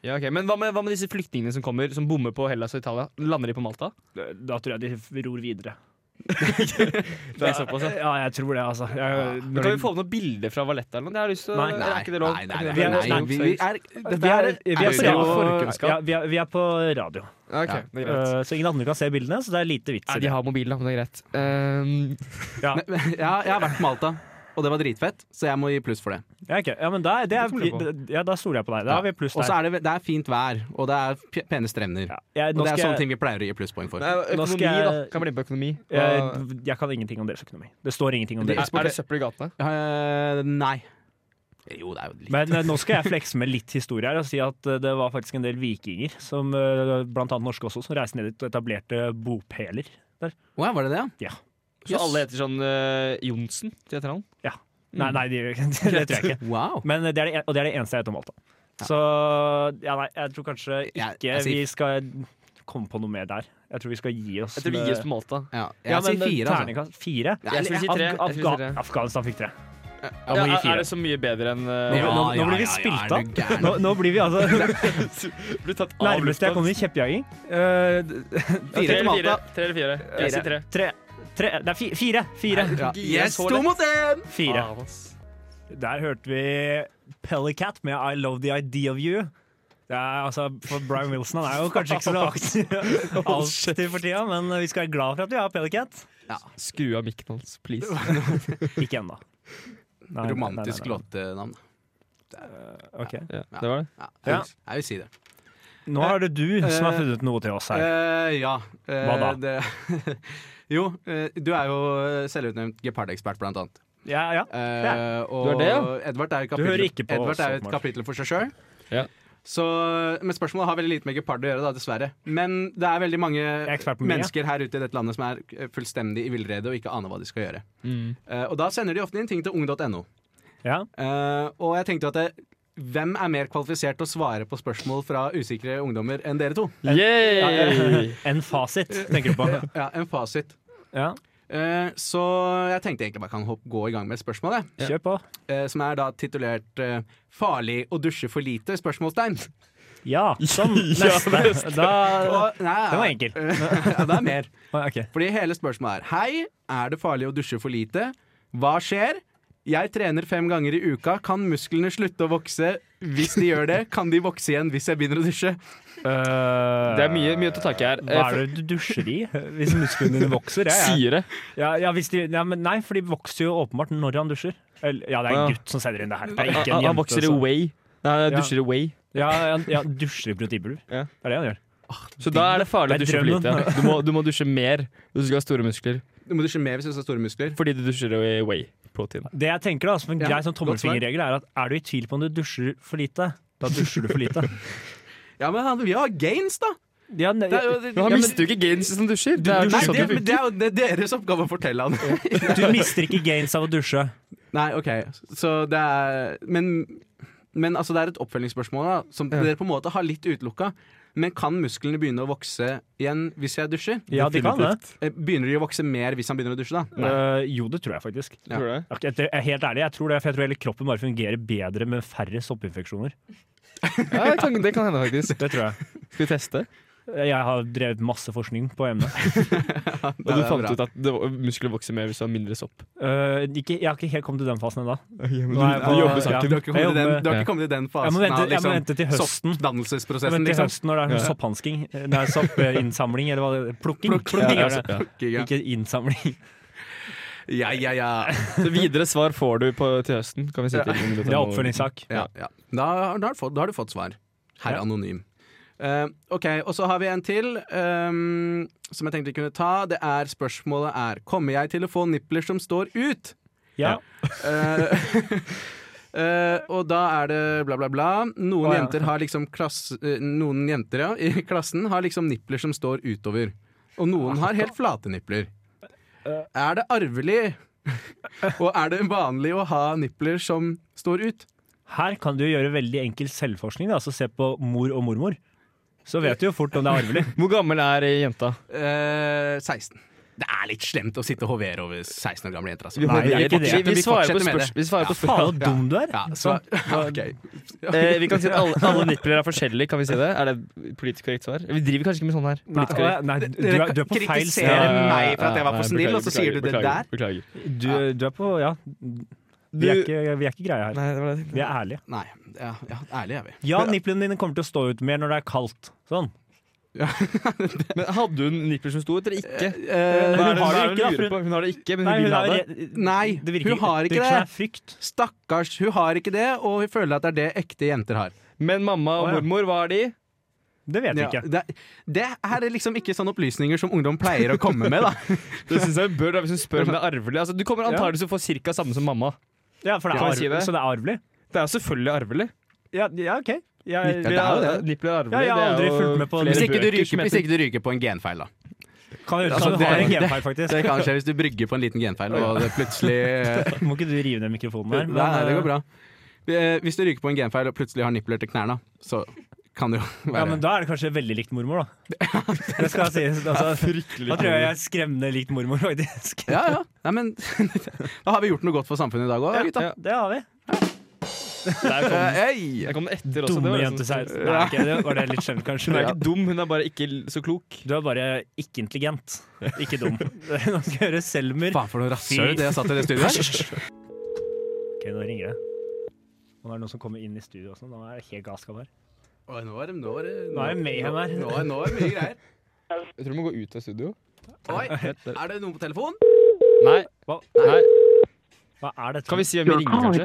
ok. Men hva med, hva med disse flyktningene som kommer, som bommer på Hellas og Italia? Lander de på Malta?
Da tror jeg de ror
[laughs]
videre.
Det er såpass, ja.
Ja, jeg tror det, altså. Jeg,
Men kan vi få med noen bilder fra Valletta eller noe? Jeg har lyst til å
Nei.
Eller er ikke det lov?
Nei, nei, nei,
Er
nei,
ikke det lov?
nei, vi, vi er,
vi
dette
er,
er,
vi er, på,
jo
radio,
forkunnskap.
ja, vi, er, vi er på radio.
Ok, det er greit.
Eh, så ingen andre kan se bildene, så det er lite vits
Nei,
i
de
det.
har mobil, da, men det er greit. Ehm, [laughs]
Ja, jeg har vært på Malta, og det var dritfett, så jeg må gi pluss for det.
Ja, ok. ja, men da, det er,
Det stoler jeg
ja, da stoler jeg på deg. Da har vi pluss
Og så
der.
er det, det er fint vær, og det er p- pene strender.
Ja, jeg,
Og
nå
det er
skal
sånne
jeg,
ting vi pleier å gi plusspoeng for.
nei,
Nå skal
økonomi,
jeg-
da. Kan bli med på økonomi. Hva-
jeg, jeg kan ingenting om deres økonomi. Det står ingenting om
er,
deres.
er det søppel i gatene?
Eh, nei. Jo, det er jo litt
Men eh, nå skal jeg flekse med litt historie her og si at eh, det var faktisk en del vikinger, som, eh, blant annet norske også, som reiste ned dit og etablerte bopeler.
Å ja, var det det?
Så alle heter sånn eh, Johnsen til etternavn?
Mm.
Nei, nei, det, [laughs] det tror jeg ikke.
Wow.
Men det er det, en- og det er det eneste jeg vet om Malta. Så ja, nei, jeg tror kanskje
Jeg-
ikke
jeg sier-
vi skal komme på noe mer der. Jeg tror vi skal gi oss. eh,
Jeg tror vi gir oss på Malta.
Ja, jeg
ja, men eh,
sier fire, altså.
terningkast fire?
Jeg skulle si
Afga-
tre. Jeg skulle si tre.
Afga Afghanistan fikk tre.
Jeg må gi
Ja, er- er
fire.
det så mye bedre enn
Nå,
eh,
Ja,
nå, nå
ja,
blir
ja,
vi
ja,
spilt
er
av.
du gæren?
Nå, nå blir vi
[laughs]
altså
Blir tatt av
Nærmest jeg
lufta.
kommer i kjeppjaging. Eh,
Tre
Fire til
eller fire?
Malta.
Tre eller fire? Jeg sier tre.
tre. Tre. Det er fi, fire. Fire.
Ja.
Jeg
Yes,
så
to
det.
mot én!
fire.
Faen, ass.
Der hørte vi Pellycat med I Love The Idea of You. Det er, altså, for Brian Wilson han er jo kanskje ikke så aktiv alltid for tida, men vi skal være glad for at vi har Pellycat.
Skru av mikken hans, please.
Ikke ennå. Nei, nei,
Romantisk
nei, nei,
låtenavn.
nei. Ok.
Ja, det var det.
Ja,
Ja.
jeg vil si det.
Nå er det du som har funnet noe til oss her.
Eh, ja. Eh,
Hva da?
Det, [laughs] jo, eh, du er jo selvutnevnt gepardekspert, blant annet.
Ja, ja.
Eh, og
Du er det, ja.
Edvard er jo kapittel-
Du hører ikke på
Edvard
oss,
er jo et
åpenbart.
kapittel for seg sjøl.
Ja.
Så, men spørsmålet har veldig lite med gepard å gjøre, da, dessverre. Men det er veldig mange
ekspert på mye.
mennesker her ute i dette landet som er eh, fullstendig i villrede og ikke aner hva de skal gjøre.
Mm.
Eh, og da sender de ofte inn ting til ung.no.
ja.
Eh, og jeg tenkte at det, hvem er mer kvalifisert til å svare på spørsmål fra usikre ungdommer enn dere to?
Yay!
[laughs]
En fasit, tenker du på.
Ja, En fasit.
Ja.
Eh, så jeg tenkte egentlig bare kan hopp, gå i gang med spørsmålet.
Kjør på.
Eh, som er da titulert eh, 'Farlig å dusje for lite?' spørsmålstegn.
Ja, sånn. Neste. Da,
[laughs] Og- nei,
den var enkel.
[laughs] ja, det er mer.
Ok.
Fordi hele spørsmålet er Hei, er det farlig å dusje for lite? Hva skjer? Jeg trener fem ganger i uka. Kan musklene slutte å vokse? Hvis de gjør det, kan de vokse igjen hvis jeg begynner å dusje?
Det er mye, mye å ta tak i her.
Hva er det du dusjer i hvis musklene dine vokser? Jeg, jeg.
Syre.
Ja, ja, hvis de, ja, men nei, for de vokser jo åpenbart når han dusjer. Eller, ja, det er
Ja.
en gutt som sender inn det her. Det er
Han,
ikke en jente.
han vokser i
som-
way. Nei, han
Ja.
dusjer i way.
Ja, han ja, dusjer i proteinpulver.
Ja.
Det er det han gjør.
Så da er det farlig å
Det
dusje
er
for lite. Du må, du må dusje mer hvis du skal ha store muskler.
Du må dusje mer hvis du har store muskler.
Fordi du dusjer i way protein.
Det jeg tenker da, som en
Ja,
grei sånn
godt svar.
tommelfingerregel, er at er du i tvil på om du dusjer for lite, da dusjer du for lite.
[laughs]
Ja, men han- vi har gains, da!
Ja, ne,
Det er
[laughs]
jo,
Men han
ja, men-
mister jo ikke gains hvis han dusjer. Det er jo
Nei,
ikke sånn
det,
det
men det
funker.
er jo det er deres oppgave å fortelle han.
du mister ikke gains av å dusje.
Nei, OK. Så det er Men, men altså, det er et oppfølgingsspørsmål da, som dere på en måte har litt utelukka. Men kan musklene begynne å vokse igjen hvis jeg dusjer?
Ja, de kan det.
Eh, Begynner de å vokse mer hvis han begynner å dusje, da?
Eh, jo, det tror jeg faktisk.
Ja.
Tror du det?
Ok, Jeg er helt ærlig, jeg tror det, for jeg tror hele kroppen bare fungerer bedre med færre soppinfeksjoner.
Ja, det, kan, det kan hende, faktisk.
Det tror jeg.
Skal vi teste?
Jeg har drevet masse forskning på emnet.
Og du fant ut at det, var- muskler vokser mer hvis du har mindre sopp.
Eh, ikke, jeg har ikke helt kommet til den fasen ennå.
men
Nå er jeg
du-
på-
du jobber
Du
ja,
har ikke kommet,
jeg
i den,
jobber-
du har ikke kommet i den
Jeg
fasen
må
av
vente-
liksom
jeg må vente til høsten. Jeg
soppdannelsesprosessen,
venter til
liksom.
høsten når det er
Ja.
sopphansking. Eh, Nei, soppinnsamling, eller hva det er. Plukking.
Ja,
Plukking,
ja,
altså.
ja.
Ja,
Ikke innsamling.
ja, ja. ja.
Så videre svar får du på, til høsten. Kan vi si til om du tar
Det er
noe-
oppfølgingssak.
ja, ja. Da, har- da, har du fått, da har du fått svar. Herr
Ja.
Anonym. Eh, OK, og så har vi en til ehm, som jeg tenkte vi kunne ta. Det er Spørsmålet er Kommer jeg til å få nipler som står ut?
Ja.
Eh, [laughs] eh, og da er det bla, bla, bla. Noen
Å, ja.
jenter har liksom klass, eh, Noen jenter ja, i klassen har liksom nipler som står utover. Og noen har helt flate nipler.
Eh.
Er det arvelig? [laughs] og er det vanlig å ha nipler som står ut?
Her kan du gjøre veldig enkel selvforskning. da, Altså se på mor og mormor. Så vet du jo fort om det er arvelig.
[laughs] Hvor gammel er eh, jenta?
Eh, 16. Det er litt slemt å sitte og hovere over 16 år gamle jenter. Altså.
Nei, det er ikke det.
Vi, vi,
Vi
svarer på
fortsetter med
spørs-
det.
vi svarer på
Faen, så
spørsmål.
dum du er! Sånn.
Ja, så,
[laughs]
ok.
Eh, vi kan si at alle, alle nippler er forskjellige, kan vi si det? Er det politisk korrekt svar? Vi driver kanskje ikke med sånn her.
Nei,
Politisk korrekt.
nei, du, du, er, du er på feil
Dere
sted.
kritiserer meg for at jeg var for
Nei,
snill,
beklager,
og så sier du det
beklager, Beklager.
Du, du er på Ja. Vi er ikke, vi er ikke greie her.
Nei, det var det.
Vi er ærlige.
[laughs] Nei, ja, ja, ærlig er vi.
Ja, nipplene dine kommer til å stå ut mer når det er kaldt. Sånn.
Men hadde hun nipler som sto ut, eller ikke?
Eh,
Hva
hun
er det-
har
hva
det ikke,
er det hun
da, for
lurer
hun-
på? Hun har det ikke, men
Nei,
hun
hun
vil ha
er,
det.
Nei,
det virker
hun
ikke-
har ikke
Det virker som
det.
det er frykt.
Stakkars, hun har ikke det, og hun føler at det er det ekte jenter har.
Men mamma og
Å, ja.
mormor, hva er de?
Det vet jeg
Ja,
ikke.
det, det her er liksom ikke sånne opplysninger som ungdom pleier å komme med, da.
Det synes jeg hun bør da, hvis hun spør om det er arvelig. Altså, du kommer antakeligvis til å få cirka samme som mamma.
Ja, for det er
Kan jeg si
arvelig.
det?
Så det er arvelig?
Det er jo selvfølgelig arvelig.
Ja, ja OK. Jeg,
det er jo det.
Nipler er arvelig.
Ja, jeg har
det er
aldri
jo
fulgt med på-
flere
Hvis ikke du
bøker som
ryker, hvis
heter-
ikke du ryker på en genfeil, da.
kan høre
Altså,
som du
det-
har en
det-
genfeil, faktisk.
Det kan skje hvis du brygger på en liten genfeil, og det plutselig
Må ikke du rive ned mikrofonen
Nei,
her?
nei, det går bra. Eh, Hvis du ryker på en genfeil og plutselig har nipler til knærne, så kan det jo
Ja, men
være
Da er det kanskje veldig likt
[laughs]
mormor, da. Det skal sies. Altså, da tror jeg jeg er skremmende likt mormor, faktisk.
Ja, ja. Nei, men [laughs] da har vi gjort noe godt for samfunnet i dag òg, gutta. Eh,
Ja.
Det har vi. [laughs]
Der kom den.
Hey.
Jeg kom den etter også.
Dumme
det var liksom-
jenteseier. Nei, ok, det var det litt skjønt,
Hun
kanskje.
er ikke dum, hun er bare ikke l- så klok.
Du er bare ikke intelligent. Ikke
[laughs]
dum. [laughs] Nå skal jeg høre Selmer.
Faen for noe rasshøl det jeg satt i det studioet her.
Ok, nå ringer det. Nå er det noen som kommer inn i studio også. Nå er det helt galskap her.
Oi, Nå er det Nå er det,
Nå er det mayhem her.
Nå, er- nå er det mye greier.
Jeg tror du må gå ut av studio.
Oi, er det noen på telefon?
Nei.
Hva?
Nei.
Hva er dette?
Kan vi si hvem vi ringer, kanskje?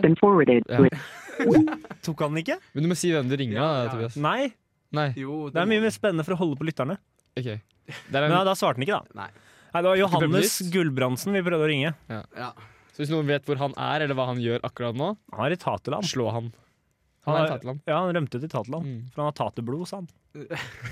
Tok han den ikke?
Men du må si hvem du ringer,
Ja,
da,
ja.
Tobias.
Nei.
Nei.
Jo,
Det er mye mer spennende for å holde på lytterne.
Ok. Det er
Men ja,
en,
da svarte han ikke, da.
Nei.
Nei, Det var Johannes
Ikke
Gulbrandsen vi prøvde å ringe.
Ja.
så hvis noen vet hvor han er, eller hva han gjør akkurat nå,
Han er i Taterland.
slå han. Han er i Tateland.
Ja, han rømte til Taterland.
Mm.
For han har taterblod, sa han.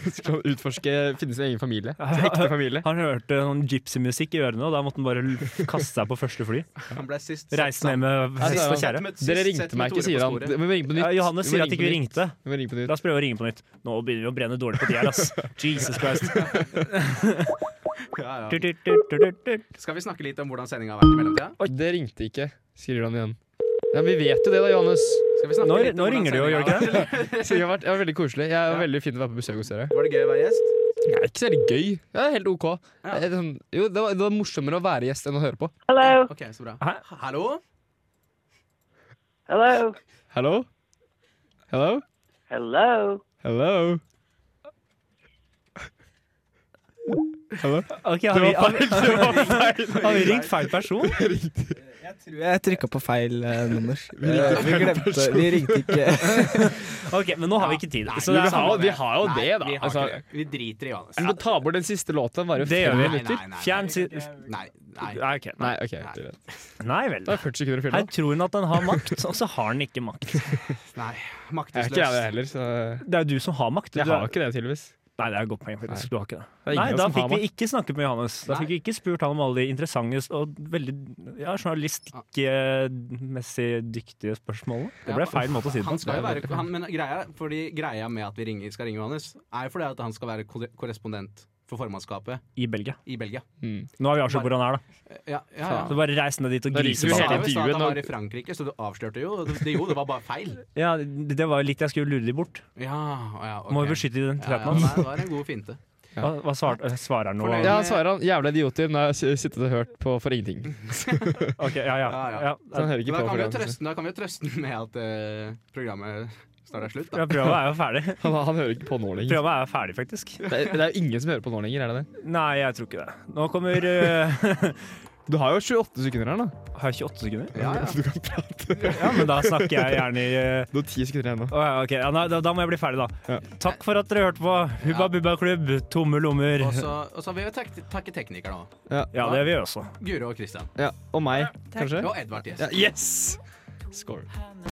Skal han utforske, finne sin egen
[laughs]
familie. Sin ekte familie.
Han hørte noen gypsy-musikk i ørene, og da måtte han bare l- kaste seg på første
[laughs]
fly.
Han ble sist satt
Reise ned med
Ja,
hest og
det er
kjære.
Dere ringte meg ikke, sier han. Vi må ringe på nytt.
Ja, Johannes
Vi må
sier at
ringe
ikke vi
på nytt.
ringte.
Vi må ringe
La
på nytt. [laughs]
[laughs] oss prøve å ringe på nytt. Nå begynner vi å brenne dårlig på de her, ass. Jesus Christ.
Ja, ja.
Nei,
Skal vi snakke litt om hvordan sendinga har vært i mellomtida?
Oi, det ringte ikke, skriver han igjen. Ja, Vi vet jo det, da, Johannes.
Skal vi snakke
Nå-
litt om
nå
hvordan
ringer det jo,
sendingen
gjør det
har vært, eller?
Så det har vært, det har vært veldig koselig. Jeg er Veldig fint å være på besøk hos dere.
Var det gøy å være gjest?
Det er ikke særlig gøy. Det er helt OK. Det er sånn, jo, det var, det var morsommere å være gjest enn å høre på.
[laughs]
Hello.
Ok, så bra.
Hæ?
Hallo?
Hello.
Hello? Hello?
Hello.
Hello?
har vi, har, vi- har vi ringt feil person?
Tror jeg trykka på feil eh, nummer. Vi, vi glemte Vi ringte ikke
Ok, Men nå har vi ikke tid. Så
vi,
det er
har,
samme
sånn vi har jo det, da.
Vi, har
Altså,
ikke det. vi driter i Johannes.
vi må ta bort den siste låta. Bare
Det gjør vi.
fem
Nei,
minutter.
nei, nei,
Fjern si...
Nei, nei.
Nei, ok.
Nei, ok. greit.
Nei vel.
Det er 40 sekunder å fylle
Her
opp.
tror hun at den har makt, og så har den ikke makt.
nei.
Jeg er ikke jeg det
Maktesløs.
heller, så
Det er jo du som har makt.
Jeg
Du
har
er-
ikke det, tydeligvis.
Nei, det er et godt poeng. faktisk. Du har ikke det.
Det er
Nei,
ingen
da
som har
fikk vi
makt.
ikke snakket med Johannes. Da
Nei.
fikk vi ikke spurt han om alle de interessante og veldig ja, journalistikkmessig dyktige spørsmålene. Det ble feil måte å si det
Han
på.
skal jo være, han, men greia, fordi greia med at vi ringer, skal ringe Johannes, er jo fordi at han skal være korre- korrespondent for formannskapet
I Belgia.
i Belgia.
Mm.
Nå har vi avslørt hvor han er, da.
Ja, ja, ja.
Så bare reis ned dit og
Da
grise
liker
Du
vi
sa
på
hele
han.
jo i stad at han
intervjuet
var i Frankrike, så du avslørte jo. Det, det- jo, det var bare feil.
Ja, det var jo litt jeg skulle lure de bort.
Ja, å ja ok.
Må jo beskytte
ja,
identiteten
ja,
hans.
nei, Det var en god finte.
Hva, hva svar, eh, svarer han nå?
Fornøyd.
Ja, svarer han. Jævla idioter. Nå har jeg s- sittet og hørt på for ingenting.
Ok, ja, ja.
Ja, ja.
ja.
Så han hører ikke
Men da kan
på for
vi jo
det.
trøsten, da kan vi jo trøsten med at eh, programmet snart er slutt, da.
ja Prøva er jo ferdig.
Han, [laughs] han hører ikke på nå lenger.
Prøva er jo ferdig, faktisk.
Det er, det er jo ingen som hører på nå lenger, er det det?
Nei, jeg tror ikke det. Nå kommer eh,
Du har jo 28 sekunder her, da.
Har jeg 28 sekunder?
Ja, ja.
[laughs] Du kan prate.
[laughs] Ja, men da snakker jeg gjerne i eh,
Du har 10 sekunder igjen nå.
Å ja, ok, ja, nei, da, da må jeg bli ferdig, da.
Ja.
Takk for at dere hørte på. Hubba
Ja.
Bubba Klubb, tomme lommer.
Og så, og så vil vi takke, takke teknikerne òg.
Ja, det vil jeg også.
Guro og Christian.
Ja, og meg, kanskje?
Og Edvard Gjest.
Ja, yes! Score.